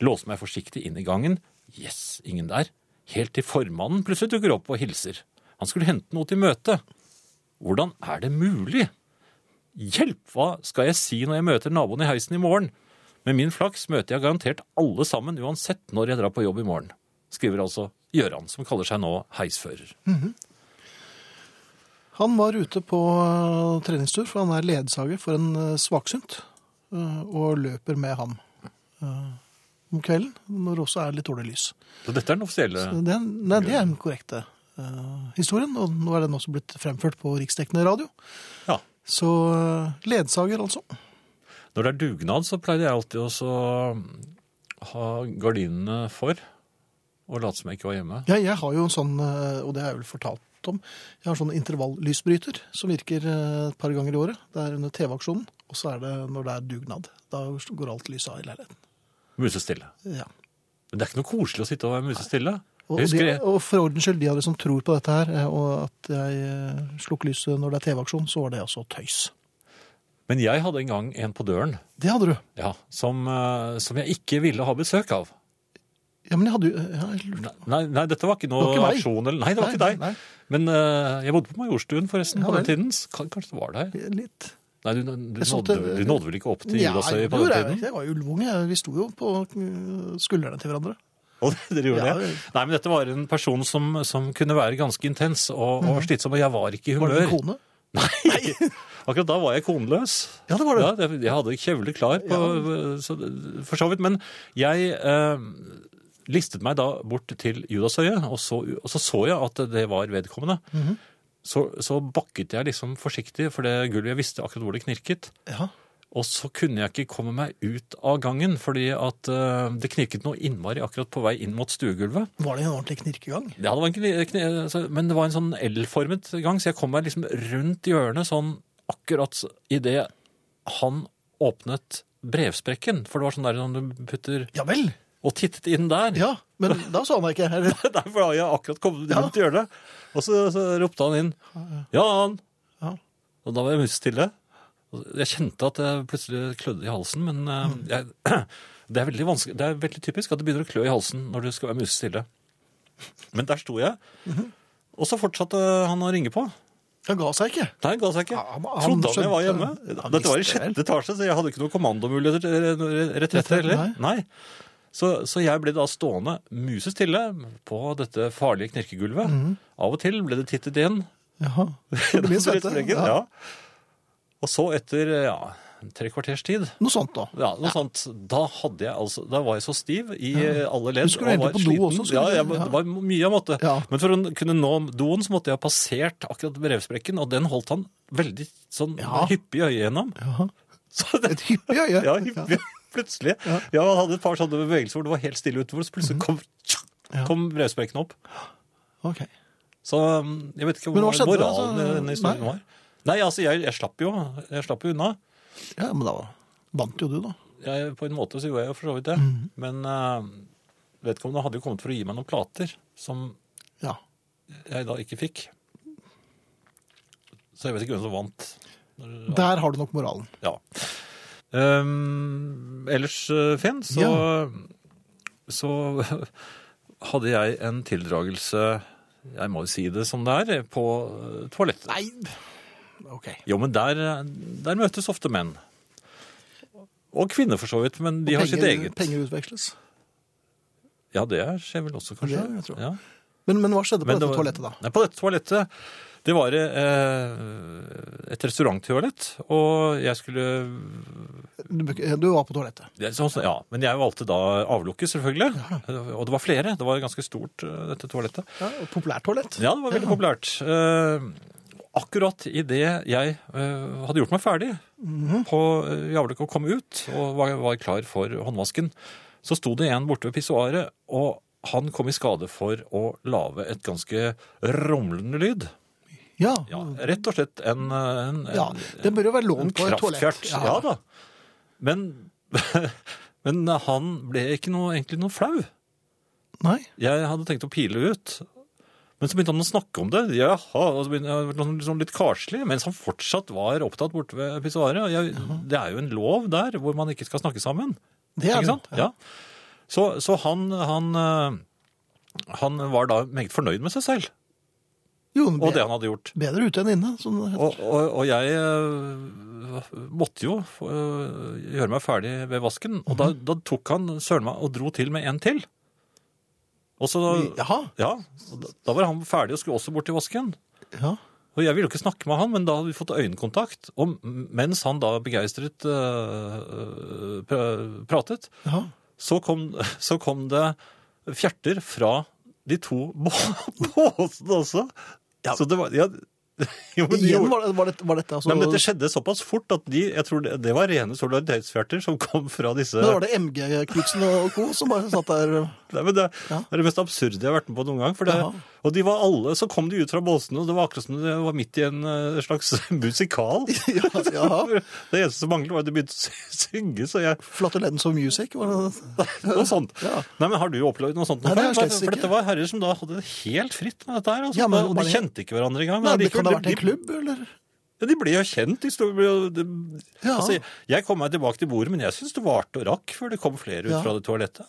C: Låser meg forsiktig inn i gangen. Yes, ingen der. Helt til formannen plutselig dukker opp og hilser. Han skulle hente noe til møtet. Hvordan er det mulig? Hjelp! Hva skal jeg si når jeg møter naboen i heisen i morgen? Med min flaks møter jeg garantert alle sammen uansett når jeg drar på jobb i morgen. Skriver altså Gjøran, som kaller seg nå heisfører.
B: Han var ute på eh, treningstur, for han er ledsager for en eh, svaksynt, eh, og løper med han eh, om kvelden, når det også er litt dårlig lys.
C: Så dette er den offisielle
B: Det, er- nei, det er den korrekte eh, historien, og nå er den også blitt fremført på riksdekkende radio.
C: Ja.
B: Så eh, ledsager, altså.
C: Når det er dugnad, så pleide jeg alltid også å ha gardinene for og late som jeg ikke var hjemme.
B: Ja, jeg har jo en sånn, eh, og det har jeg vel fortalt om, jeg har sånn intervall-lysbryter som virker eh, et par ganger i året. Det er under TV-aksjonen, og så er det når det er dugnad. Da går alt lyset av i leiligheten.
C: Musestille.
B: Ja.
C: Men det er ikke noe koselig å sitte og være musestille.
B: Og,
C: Jeg
B: og, de,
C: husker det.
B: og for ordens skyld, de av dere som tror på dette her, eh, og at jeg eh, slukker lyset når det er TV-aksjon, så var det altså tøys.
C: Men jeg hadde en gang en på døren
B: Det hadde du.
C: ja, som, eh, som jeg ikke ville ha besøk av.
B: Ja, men jeg hadde jo eh, ja, jeg lurte.
C: Nei, nei dette var ikke noe
B: Det var ikke meg.
C: aksjon. Eller, nei, det var
B: Nei,
C: ikke deg.
B: nei.
C: Men eh, jeg bodde på Majorstuen forresten
B: Ja
C: på den
B: vel.
C: tiden. så kan- Kanskje det var deg?
B: Litt.
C: Nei, du, du,
B: Jeg
C: nådde,
B: solgte-
C: du nådde vel ikke opp til Judasøy
B: det
C: på
B: gjorde
C: den
B: jeg
C: tiden?
B: vel. Jeg var jo ulvunge. Vi sto jo på eh, skuldrene til hverandre.
C: Og dere gjorde
B: Ja,
C: det?
B: vel.
C: Nei, men dette var en person som, som kunne være ganske intens og, og slitsom, og jeg var ikke i
B: Mhm. Var det en
C: humør.
B: kone?
C: Nei! Akkurat da var jeg koneløs.
B: Ja, det var det.
C: Ja, det- jeg hadde kjevle klar, på, så, det- for så vidt. Men jeg eh, listet meg da bort til Judasøyet, og så, og så så jeg at det var vedkommende.
B: Mhm.
C: så, så bakket jeg liksom forsiktig, for det gulvet jeg visste akkurat hvor det knirket.
B: Ja.
C: Og så kunne jeg ikke komme meg ut av gangen, fordi at eh, det knirket noe innmari akkurat på vei inn mot stuegulvet.
B: Var det en ordentlig knirkegang?
C: Ja, det var en kni- kni- altså, men det var en sånn L-formet gang, så jeg kom meg liksom rundt hjørnet sånn akkurat idet han åpnet brevsprekken. For det var sånn der når du putter
B: Ja vel.
C: Og tittet inn der!
B: Ja, men da så han meg ikke. Eller,
C: Der var jeg akkurat kommet rundt hjørnet. Og så, så ropte han inn. Ja, han!
B: Ja.
C: Og da var jeg musestille. Og Jeg kjente at det plutselig klødde i halsen, men eh,
B: Mm.
C: jeg, det, er veldig vanskelig- det er veldig typisk at det begynner å klø i halsen når du skal være musestille. Men der sto jeg,
B: Mhm.
C: og så fortsatte han å ringe på.
B: han ga seg ikke.
C: Nei, ga seg ikke.
B: Ja, han- han
C: Trodde han jeg var
B: skjønte-
C: hjemme.
B: han
C: Dette var i
B: visste vel.
C: sjette etasje, så jeg hadde ikke noen kommandomuligheter til re- retretter heller. Nei. Så, så jeg ble da stående musestille på dette farlige knirkegulvet.
B: Mhm.
C: Av og til ble det tittet inn.
B: Jaha. Det
C: gjennom
B: blir svette.
C: drittbrekken,
B: Ja.
C: ja. Og så etter ja, tre kvarters tid
B: Noe sånt da.
C: ja, noe sånt. Da, hadde jeg, altså, da var jeg så stiv i eh, alle ledd.
B: Du skulle
C: og
B: hente
C: var
B: på do
C: sliten.
B: også, skulle
C: Ja,
B: du?
C: jeg,
B: Ja.
C: det var mye jeg måtte.
B: Ja.
C: Men for å kunne nå doen så måtte jeg ha passert akkurat brevsprekken, og den holdt han veldig sånn
B: Ja.
C: hyppig øye gjennom.
B: Jaha.
C: Så det,
B: Et hyppig øye.
C: ja, hyppig. Plutselig. Ja. han hadde et par sånne bevegelser hvor det var helt stille utover, så
B: Mhm.
C: plutselig kom, kom brevsprekken opp.
B: Ok.
C: Så um, jeg vet ikke
B: Men
C: hvor
B: hva skjedde da?
C: moralen i denne historien
B: Nei.
C: var. Nei, altså, jeg, jeg slapp jo. Jeg slapp jo unna.
B: Ja, men da vant jo du da.
C: jeg, på en måte så gjorde jeg jo for så vidt det.
B: Mhm.
C: Men eh, vedkommende hadde jo kommet for å gi meg noen plater som
B: Ja.
C: jeg da ikke fikk. Så jeg vet ikke hvem som vant. Når-
B: Der har du nok moralen.
C: Ja. Ehm, ellers, eh, Finn, så, så hadde jeg en tildragelse Jeg må jo si det som det er på eh, toalettet.
B: Nei, ok.
C: Jo, men der, der møtes ofte menn. Og kvinner, for så vidt. Men de har sitt eget.
B: Penger utveksles.
C: Ja, det skjer vel også, kanskje.
B: Det, jeg tror.
C: Ja.
B: Men, men hva skjedde på
C: Men det
B: dette
C: var-
B: toalettet, da?
C: Nei, på dette toalettet, det var eh, et restauranttoalett, og jeg skulle
B: Du, bruk- du var på toalettet.
C: Det er sånn, som- ja, men jeg valgte da avlukket, selvfølgelig. Og det var flere. Det var ganske stort, eh, dette toalettet.
B: Ja, og Populært toalett.
C: Ja, det var veldig populært. Eh, Akkurat i det jeg eh, hadde gjort meg ferdig
B: Mhm.
C: på eh, i avlukket og kom ut og var, var klar for håndvasken, så sto det en borte ved pissoaret, og han kom i skade for å lage et ganske rumlende lyd.
B: Ja.
C: Ja, rett og slett en, eh, en, en
B: ja. Det bør jo være
C: en
B: lånt på et toalett.
C: kraftfjert. Ja. da. Men, men han ble ikke noe, egentlig noe flau.
B: Nei.
C: Jeg hadde tenkt å pile ut. Men så begynte han å snakke om det. Jaha, og så begynte jeg å bli sånn litt karslig, mens han fortsatt var opptatt borte ved pissoaret. Og jeg- Det er jo en lov der hvor man ikke skal snakke sammen.
B: Det er
C: ikke sant?
B: det.
C: Ja. Så, så han, han, eh, han var da meget fornøyd med seg selv
B: Jo, men
C: og det
B: bedre,
C: han hadde gjort.
B: bedre ute enn inne, som det heter.
C: Og, og, og jeg øh, måtte jo øh, gjøre meg ferdig ved vasken, og
B: Mhm.
C: da, da tok han søren meg og dro til med en til. Og så,
B: Jaha.
C: ja, og da- da var han ferdig og skulle også bort til vasken.
B: Ja.
C: Og jeg ville jo ikke snakke med han, men da hadde vi fått øyekontakt. Og m- mens han da begeistret øh, øh, pra- pratet,
B: Jaha.
C: så kom, så kom det fjerter fra de to bå- båsene også. Så det var... Ja, jo, men de
B: Igjen
C: gjorde-
B: var, det- var, det, var dette altså
C: Nei, men Dette skjedde såpass fort at de, jeg tror det, det var rene solidaritetsfjerter som kom fra disse
B: Men var det MG Knutsen og co. som bare satt der
C: Nei, men det,
B: Ja.
C: det er det mest absurde jeg har vært med på noen gang. For det,
B: Jaha.
C: og de var alle, Så kom de ut fra båsene, og det var akkurat som det var midt i en eh, slags musikal.
B: ja, ja.
C: Det eneste som manglet, var at de begynte å sy- synge. så jeg,
B: Flatulens og music? Var det,
C: noe sånt.
B: Ja.
C: Nei, men Har du opplevd noe sånt?
B: Nei, det har jeg
C: før?
B: slett
C: for
B: ikke.
C: dette var herrer som da hadde det helt fritt med dette her. Altså,
B: Ja, men
C: og
B: bare-
C: De kjente ikke hverandre engang.
B: Nei,
C: men
B: det kan det ha
C: allikevel,
B: vært en
C: de-
B: klubb, eller?
C: Ja, de ble jo kjent. De sto, de,
B: Ja.
C: altså, jeg- jeg kom meg tilbake til bordet, men jeg syns det varte og rakk før det kom flere ut
B: Ja.
C: fra det toalettet.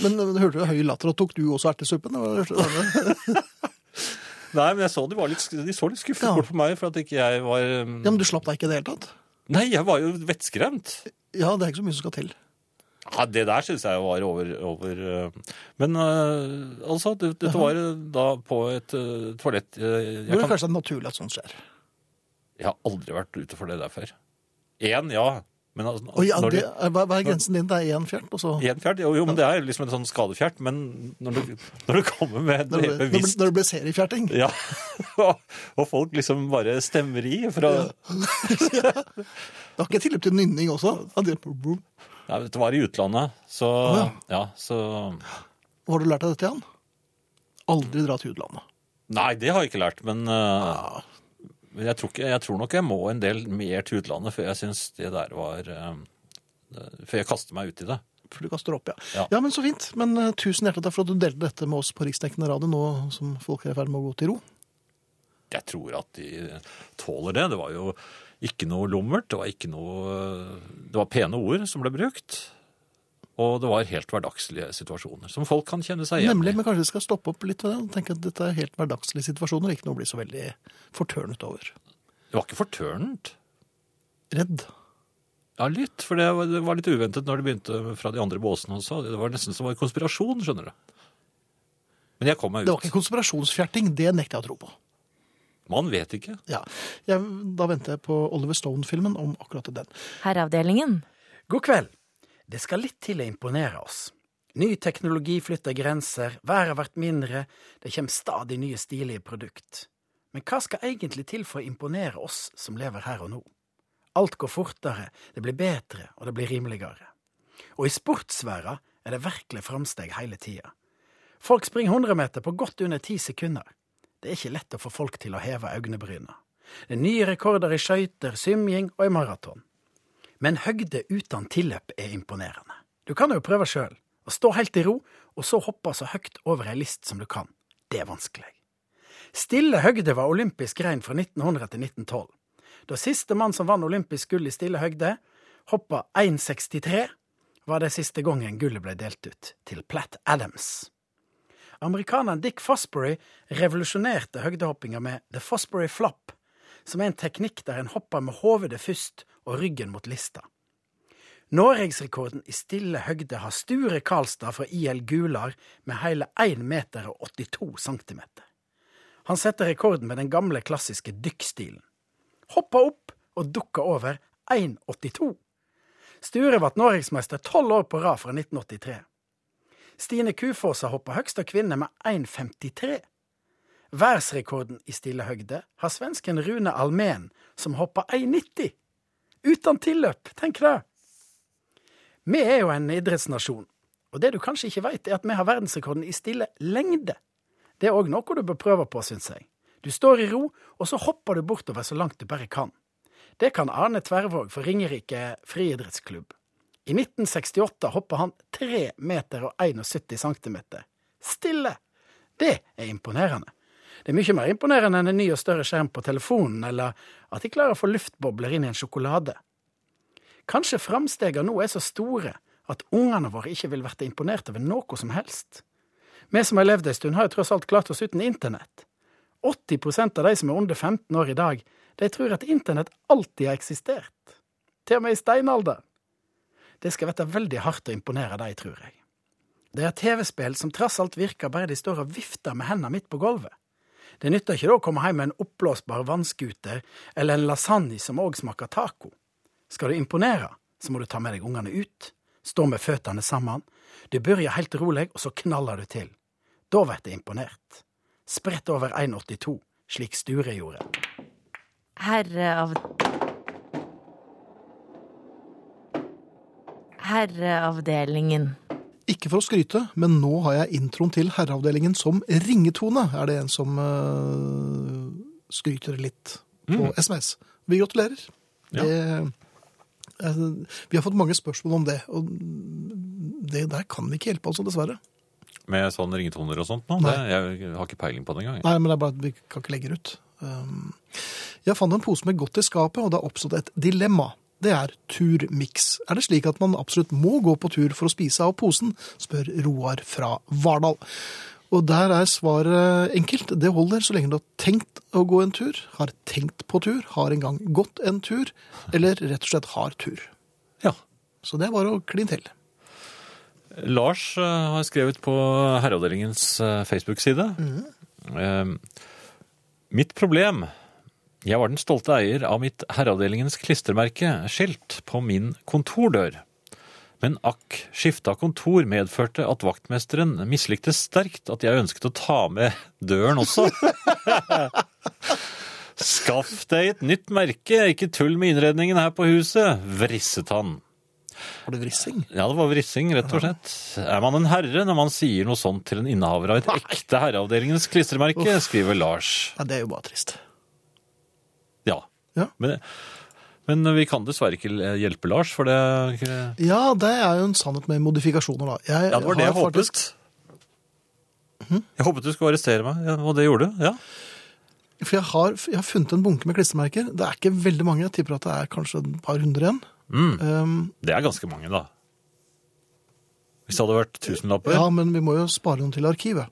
B: Men men hørte du høy latter, og tok du også ertesuppen? Var det-
C: Nei, men jeg så de, var litt, sk- de så litt skuffet
B: Ja.
C: bort på meg for at ikke jeg var um,
B: Ja, men du slapp deg ikke i det hele tatt?
C: Nei, jeg var jo vettskremt.
B: Ja, det er ikke så mye som skal til.
C: Ja, det der syns jeg var over, over uh, Men uh, altså, det, dette var uh, da på et uh, toalett uh,
B: Det
C: jeg,
B: er
C: kan,
B: kanskje naturlig at sånt skjer.
C: jeg har aldri vært ute for det der før. Én, ja. Men altså,
B: Og ja,
C: når
B: det,
C: du-
B: er- hva, hva er grensen din? Det er én fjert, og så
C: Én fjert? Jo, jo, men det er jo liksom en sånn skadefjert. Men når du, når du kommer med et
B: Når det ble, når det ble-
C: bevisst
B: når det ble seriefjerting?
C: Ja, og, og folk liksom bare stemmer i fra
B: Det var ikke tilløp til nynning også? Ja, det-
C: Nei, Dette var i utlandet, så
B: Å,
C: ja. så
B: Hva har du lært av dette, Jan? Aldri dra til utlandet.
C: Nei, det har jeg ikke lært, men uh,
B: Ah.
C: men jeg, tror ikke, jeg tror nok jeg må en del mer til utlandet før jeg syns det der var uh, Før jeg kaster meg ut i det.
B: For du kaster opp, ja.
C: Ja.
B: ja. men Så fint. Men eh, tusen hjertelig takk for at du delte dette med oss på Riksdekkende radio nå som folk er i ferd med å gå til ro.
C: Jeg tror at de tåler det. Det var jo ikke noe lummert, det var ikke noe Det var pene ord som ble brukt. Og det var helt hverdagslige situasjoner som folk kan kjenne seg igjen
B: Nemlig,
C: i.
B: men kanskje vi skal stoppe opp litt ved det og tenke at dette er helt hverdagslige situasjoner. Ikke noe å bli så veldig fortørnet over.
C: Det var ikke fortørnet.
B: Redd.
C: Ja, litt, for det var, det var litt uventet når det begynte fra de andre båsene også. Det var nesten som en konspirasjon, skjønner du. Men jeg kom meg
B: Det var
C: ut.
B: ikke konspirasjonsfjerting, det nekter jeg å tro på.
C: Man vet ikke.
B: Ja, jeg, Da venter jeg på Oliver Stone-filmen om akkurat den.
D: Herreavdelingen.
E: God kveld. Det skal litt til å imponere oss. Ny teknologi flytter grenser, været blir mindre, det kommer stadig nye stilige produkt. Men hva skal egentlig til for å imponere oss som lever her og nå? Alt går fortere, det blir bedre, og det blir rimeligere. Og i sportsverda er det virkelig framsteg hele tida. Folk springer 100 meter på godt under ti sekunder. Det er ikke lett å få folk til å heve øynebryna. Det er nye rekorder i skøyter, svømming og i maraton. Men høgde uten tilløp er imponerende. Du kan jo prøve sjøl. Å stå helt i ro, og så hoppe så høyt over ei list som du kan. Det er vanskelig. Stille høgde var olympisk grein fra 1900 til 1912. Da siste mann som vann olympisk gull i stille høgde, hoppa 1,63, var det siste gangen gullet ble delt ut, til Platt Adams. Amerikaneren Dick Fosbury revolusjonerte høgdehoppinga med The Fosbury Flop, som er en teknikk der en hopper med hovedet først og ryggen mot lista. Norgesrekorden i stille høgde har Sture Karlstad fra IL Gular med hele 1 meter og 82 centimeter. Han setter rekorden med den gamle, klassiske dykkstilen. Hoppa opp og dukka over 1,82. Sture ble norgesmester tolv år på rad fra 1983. Stine Kufoss har hoppa høgst av kvinner med 1,53. Verdensrekorden i stille høgde har svensken Rune Almen, som hoppa 1,90. Uten tilløp, tenk det! Vi er jo en idrettsnasjon, og det du kanskje ikke veit, er at vi har verdensrekorden i stille lengde. Det er òg noe du bør prøve på, syns jeg. Du står i ro, og så hopper du bortover så langt du bare kan. Det kan Arne Tvervåg for Ringerike friidrettsklubb. I 1968 hoppa han 3 meter og 71 centimeter. Stille! Det er imponerende. Det er mye mer imponerende enn en ny og større skjerm på telefonen, eller at de klarer å få luftbobler inn i en sjokolade. Kanskje framstegene nå er så store at ungene våre ikke vil bli imponert over noe som helst. Vi som har levd en stund, har jo tross alt klart oss uten internett. 80 av de som er under 15 år i dag, de tror at internett alltid har eksistert. Til og med i steinalderen. Det skal være veldig hardt å imponere de, tror jeg. Det er TV-spill som tross alt virker bare de står og vifter med hendene midt på gulvet. Det nytter ikke da å komme hjem med en oppblåsbar vannskuter eller en lasagne som òg smaker taco. Skal du imponere, så må du ta med deg ungene ut. Stå med føttene sammen. Du begynner helt rolig, og så knaller du til. Da blir det imponert. Spredt over 1,82, slik Sture gjorde.
D: Herre av Herreavdelingen.
B: Ikke for å skryte, men nå har jeg introen til herreavdelingen som ringetone, er det en som eh, skryter litt på SMS. Vi gratulerer.
C: Ja.
B: Det, eh, vi har fått mange spørsmål om det, og det der kan vi ikke hjelpe, altså, dessverre.
C: Med sånn ringetoner og sånt nå.
B: Nei.
C: Det, jeg har ikke peiling på det engang. jeg.
B: Nei, men det er bare at vi kan ikke legge det ut. Um, Jeg fant en pose med godt i skapet, og det har oppstått et dilemma. Det er turmiks. Er det slik at man absolutt må gå på tur for å spise av posen? spør Roar fra Vardal. Og der er svaret enkelt. Det holder så lenge du har tenkt å gå en tur, har tenkt på tur, har en gang gått en tur, eller rett og slett har tur.
C: Ja.
B: Så det er bare å kline til.
C: Lars eh, har skrevet på herreavdelingens eh, Facebook-side. Eh, mitt problem Jeg var den stolte eier av mitt herreavdelingens klistremerke, skilt, på min kontordør. Men akk, skifte av kontor medførte at vaktmesteren mislikte sterkt at jeg ønsket å ta med døren også. Skaff deg et nytt merke, ikke tull med innredningen her på huset, vrisset han.
B: Har du vrissing?
C: Ja, det var vrissing, rett og slett. Er man en herre når man sier noe sånt til en innehaver av et ekte herreavdelingens klistremerke, skriver Lars.
B: Nei, det er jo bare trist.
C: Ja.
B: Ja.
C: Men, men vi kan dessverre ikke hjelpe Lars, for det Ja,
B: Ja, det er jo en sannhet med modifikasjoner, da. Jeg
C: det var
B: Eh, har
C: det jeg håpet.
B: faktisk- Mhm.
C: Jeg håpet du skulle arrestere meg, ja, og det gjorde du. Ja.
B: For jeg har, jeg har funnet en bunke med klistremerker. Det er ikke veldig mange. Jeg tipper at det er kanskje et par hundre igjen.
C: Mm.
B: Um,
C: Det er ganske mange, da. Hvis det hadde vært tusenlapper.
B: ja, men vi må jo spare noen til arkivet.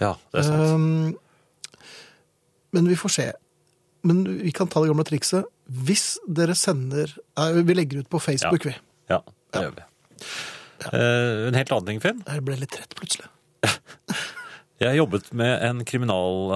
C: Ja, det er sant.
B: Um, men vi får se. Men vi kan ta det gamle trikset. Hvis dere sender Nei, vi legger ut på Facebook, vi.
C: Ja, det gjør vi. Eh, en helt annen ting, Finn.
B: Jeg ble litt trett plutselig.
C: Jeg jobbet med en kriminal...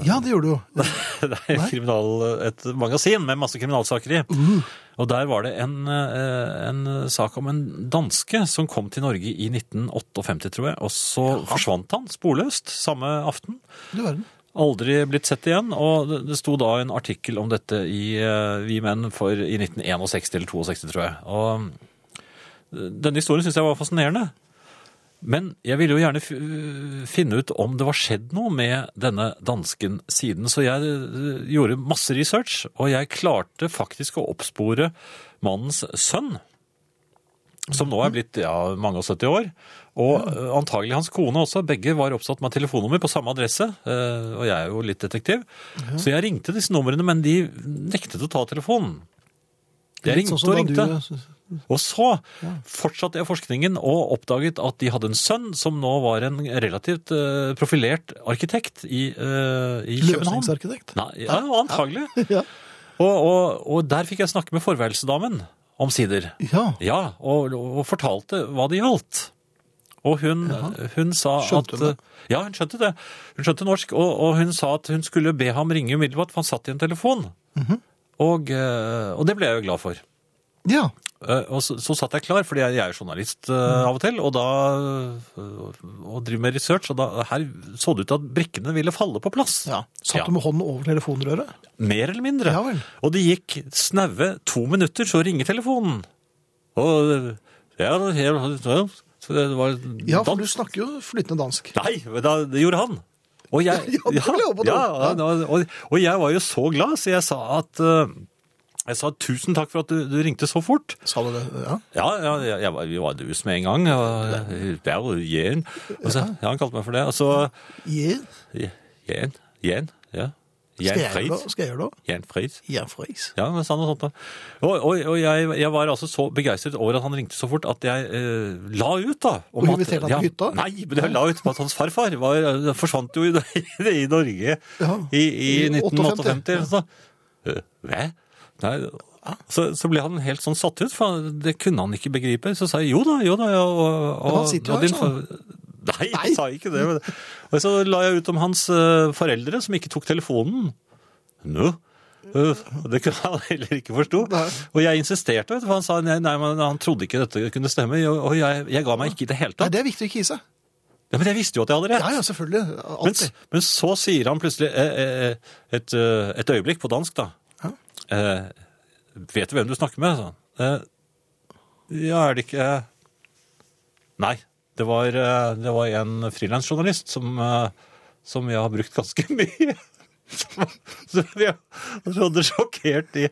C: eh,
B: Ja, det gjorde du jo.
C: Det er et, kriminal, et magasin med masse kriminalsaker i. Og der var det en, eh, en sak om en danske som kom til Norge i 1958, tror jeg. Og så forsvant han sporløst samme aften.
B: Du verden.
C: Aldri blitt sett igjen. Og det- det sto da en artikkel om dette i eh, Vi Menn for i 1961 eller 62, tror jeg. Og denne historien syns jeg var fascinerende. Men jeg ville jo gjerne f- finne ut om det var skjedd noe med denne dansken siden. Så jeg eh, gjorde masse research, og jeg klarte faktisk å oppspore mannens sønn. som nå er blitt ja, mange og 70 år. Og eh, antagelig hans kone også. Begge var oppsatt med telefonnummer på samme adresse. eh, Og jeg er jo litt detektiv. Så jeg ringte disse numrene, men de nektet å ta telefonen. Jeg
B: Litt
C: ringte
B: sånn som
C: og
B: da
C: ringte.
B: du-
C: Og så fortsatte jeg forskningen og oppdaget at de hadde en sønn som nå var en relativt eh, profilert arkitekt i, eh, i København.
B: Løsningsarkitekt.
C: Nei, ja, antagelig.
B: Ja.
C: Og, og, og der fikk jeg snakke med forværelsedamen, omsider.
B: ja.
C: Ja, og, og fortalte hva det gjaldt. Og hun, hun sa
B: Skjønte hun
C: at eh, Ja, hun skjønte det. Hun skjønte norsk, og, og hun sa at hun skulle be ham ringe umiddelbart, for han satt i en telefon.
B: Mhm.
C: og, eh, og det ble jeg jo glad for.
B: ja.
C: Eh, Og så, så satt jeg klar, fordi jeg, jeg er journalist eh,
B: Mm.
C: av og til, og da eh, og driver med research, og da, her så det ut til at brikkene ville falle på plass.
B: ja. Satt
C: Ja.
B: du med hånden over telefonrøret?
C: Mer eller mindre.
B: Ja vel.
C: Og det gikk snaue to minutter, så ringer telefonen. Og eh, ja, ja, ja, så det var
B: Ja, for
C: dans-
B: du snakker jo flytende dansk.
C: Nei, men da, det gjorde han. Og jeg,
B: Ja, det ble opp og
C: ja,
B: ned.
C: ja, og, og jeg var jo så glad, så jeg sa at eh, jeg sa tusen takk for at du, du ringte så fort.
B: Sa du det? Ja.
C: Ja, ja jeg, jeg, var- vi var dus med en gang. Og, Berg, Jen. Og så, ja, han kalte meg for det. Og så
B: Yeah.
C: Jen, Jen, ja.
B: Skal
C: Jen
B: jeg gjøre
C: Fried.
B: det? Skal jeg gjøre det?
C: Jen Fried.
B: Ja, freis.
C: Ja, men sa noe sånt da. Og, og, og jeg, jeg var altså så begeistret over at han ringte så fort at jeg eh, la ut da. om
B: Og
C: at-
B: inviterte han på
C: ja,
B: hytta?
C: Nei, men jeg la ut på at hans farfar var, eh, forsvant jo i, i Norge
B: Ja,
C: i, i
B: i
C: 1958. eller sånn. Eh, Hva? Nei, så, så ble han helt sånn satt ut, for det kunne han ikke begripe. Så sa jeg jo da, jo da. ja, Og, og,
B: Men han sitter jo
C: og
B: her,
C: din
B: sa han.
C: far- Nei, jeg sa ikke det. Men... Og så la jeg ut om hans eh, foreldre som ikke tok telefonen. Nå? Eh, Det kunne han heller ikke forstå.
B: Nei.
C: Og jeg insisterte, vet du, for han sa nei, nei, men han trodde ikke dette kunne stemme. Og jeg, jeg ga meg ikke i det hele
B: Nei,
C: tatt.
B: det er viktig å ikke gi seg.
C: Ja, men jeg visste jo at jeg hadde rett.
B: Ja, ja, selvfølgelig.
C: Men,
B: Alltid.
C: men så sier han plutselig eh, eh, et, eh, et øyeblikk på dansk, da. Eh, vet du hvem du snakker med? sa han. Eh, ja, er det ikke eh, Nei. Det var, eh, det var en frilansjournalist som, eh, som jeg har brukt ganske mye. Så vi hadde sjokkert i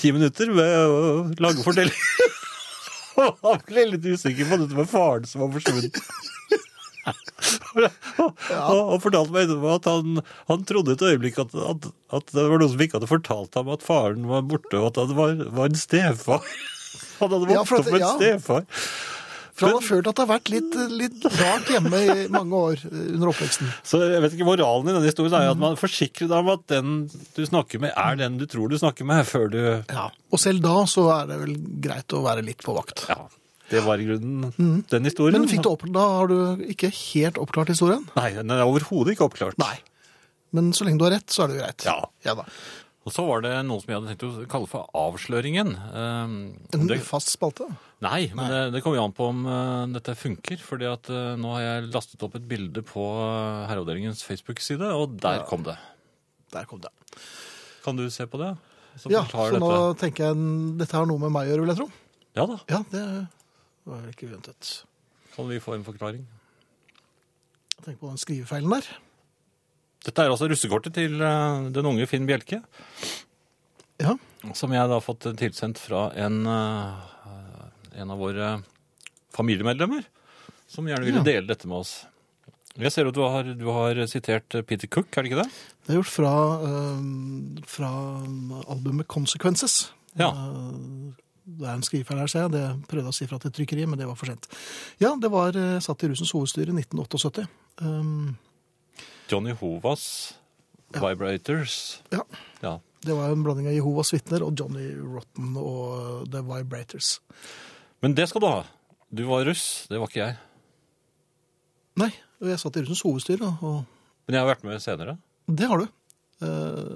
C: ti minutter med å lage fortellinger. Og han ble litt usikker på dette med faren som var forsvunnet. Og, og, og fortalte meg etterpå at han, han trodde et øyeblikk at, at, at det var noen som ikke hadde fortalt ham at faren var borte, og at han var, var en stefar. Han hadde vokst
B: Ja, for at-
C: opp med en
B: ja.
C: stefar.
B: For han har følt at det har vært litt, litt rart hjemme i mange år eh, under oppveksten.
C: Så jeg vet ikke, Moralen i denne historien er
B: Mm.
C: jo at man forsikrer deg om at den du snakker med, er den du tror du snakker med, før du
B: Ja. Og selv da så er det vel greit å være litt på vakt.
C: Ja, det var i grunnen den historien.
B: Men fikk du opp, da har du ikke helt oppklart historien.
C: Nei, den er overhodet ikke oppklart.
B: Nei. Men så lenge du har rett, så er det jo greit.
C: Ja.
B: da.
C: Og så var det noe som jeg hadde tenkt å kalle for avsløringen. Um,
B: En
C: det,
B: fast spalte.
C: nei, men det, det kommer jo an på om eh, dette funker. fordi at eh, nå har jeg lastet opp et bilde på eh, Herreavdelingens Facebook-side, og der kom det.
B: Der kom det.
C: Kan du se på det? Som
B: Ja, så
C: forklarer
B: nå
C: dette.
B: tenker jeg en- dette har noe med meg å gjøre, vil jeg tro.
C: Ja da,
B: Ja, det var vel ikke uventet.
C: kan vi få en forklaring?
B: Tenk på den skrivefeilen der.
C: Dette er altså russekortet til eh, den unge Finn Bjelke.
B: Ja.
C: Som jeg da har fått tilsendt fra en, eh, en av våre familiemedlemmer, som gjerne ville
B: Ja.
C: dele dette med oss. Jeg ser at du har, du har sitert eh, Peter Cook, er det ikke det?
B: Det er gjort fra, eh, fra albumet Consequences.
C: Ja.
B: Eh, Det er en skrivefeil her, ser jeg. Det prøvde jeg å si fra til trykkeriet, men det var for sent. Ja, det var eh, satt i Russens hovedstyre i 1978. Um,
C: Johnny Hovas Vibrators.
B: ja.
C: Ja.
B: Det var en blanding av Jehovas vitner og Johnny Rotten og eh, The Vibrators.
C: Men det skal du ha. Du var russ, det var ikke jeg.
B: Nei, og jeg satt i Russens hovedstyre, og
C: Men jeg har vært med senere.
B: det har du. Eh,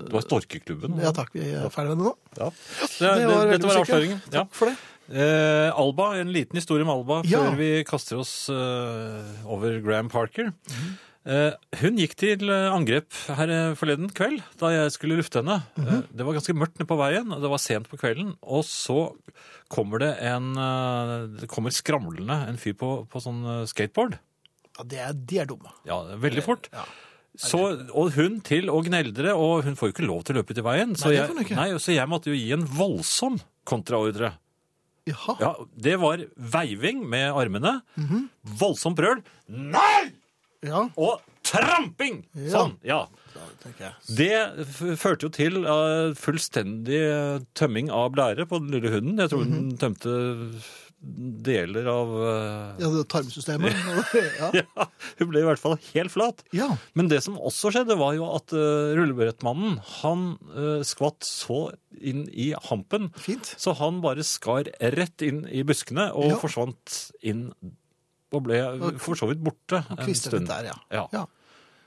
C: Det var Storkeklubben.
B: ja takk, vi er ferdig med det nå.
C: Ja. Det, det,
B: var veldig
C: dette var
B: musikkelig.
C: avsløringen. Ja.
B: Takk for det.
C: Eh, Alba, en liten historie om Alba
B: Ja.
C: før vi kaster oss eh, over Graham Parker.
B: Mhm.
C: Eh, hun gikk til eh, angrep her eh, forleden kveld da jeg skulle lufte henne.
B: Mhm.
C: Eh, det var ganske mørkt nede på veien, og det var sent på kvelden. Og så kommer det en eh, Det kommer skramlende en fyr på, på sånn eh, skateboard.
B: Ja, de er, de er dumme.
C: Ja, veldig fort. Så, og hun til å gneldre, og hun får jo ikke lov til å løpe ut i veien. Så,
B: Nei, det får hun
C: jeg,
B: ikke.
C: nei, så jeg måtte jo gi en voldsom kontraordre.
B: Jaha.
C: Ja, det var veiving med armene, voldsomt brøl, nei!
B: Ja,
C: Og tramping! Sånn, ja.
B: tenker jeg.
C: Det f- førte jo til eh, fullstendig eh, tømming av blære på den lille hunden. Jeg tror den tømte deler av eh,
B: Ja, det er tarmsystemet. Ja.
C: Ja, hun ble i hvert fall helt flat.
B: Ja.
C: Men det som også skjedde, var jo at eh, rullebrettmannen han eh, skvatt så inn i hampen,
B: Fint.
C: så han bare skar rett inn i buskene og
B: Ja.
C: forsvant inn og ble for så vidt borte en
B: Kvister litt
C: stund.
B: der, ja.
C: Ja.
B: Ja,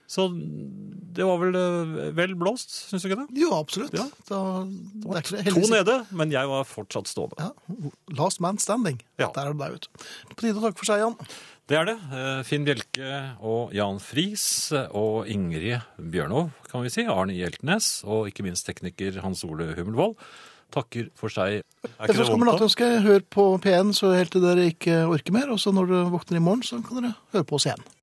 C: Så det var vel eh, vel blåst, syns du ikke det?
B: jo, absolutt.
C: Ja.
B: Da, det er ikke det
C: To
B: heldigvis-
C: nede, men jeg var fortsatt stående.
B: Ja. Last man standing.
C: Ja.
B: Der er det deg, vet du. På tide å takke for seg, Jan.
C: Det er det. Eh, Finn Bjelke og Jan Friis og Ingrid Bjørnov, kan vi si. Arne Hjeltnes og ikke minst tekniker Hans Ole Hummelvold takker for seg. Er
B: Ellers kommer
C: da?
B: nattønsket. Hør på P1 så helt til dere ikke orker mer. Og så når dere våkner i morgen, så kan dere høre på oss igjen.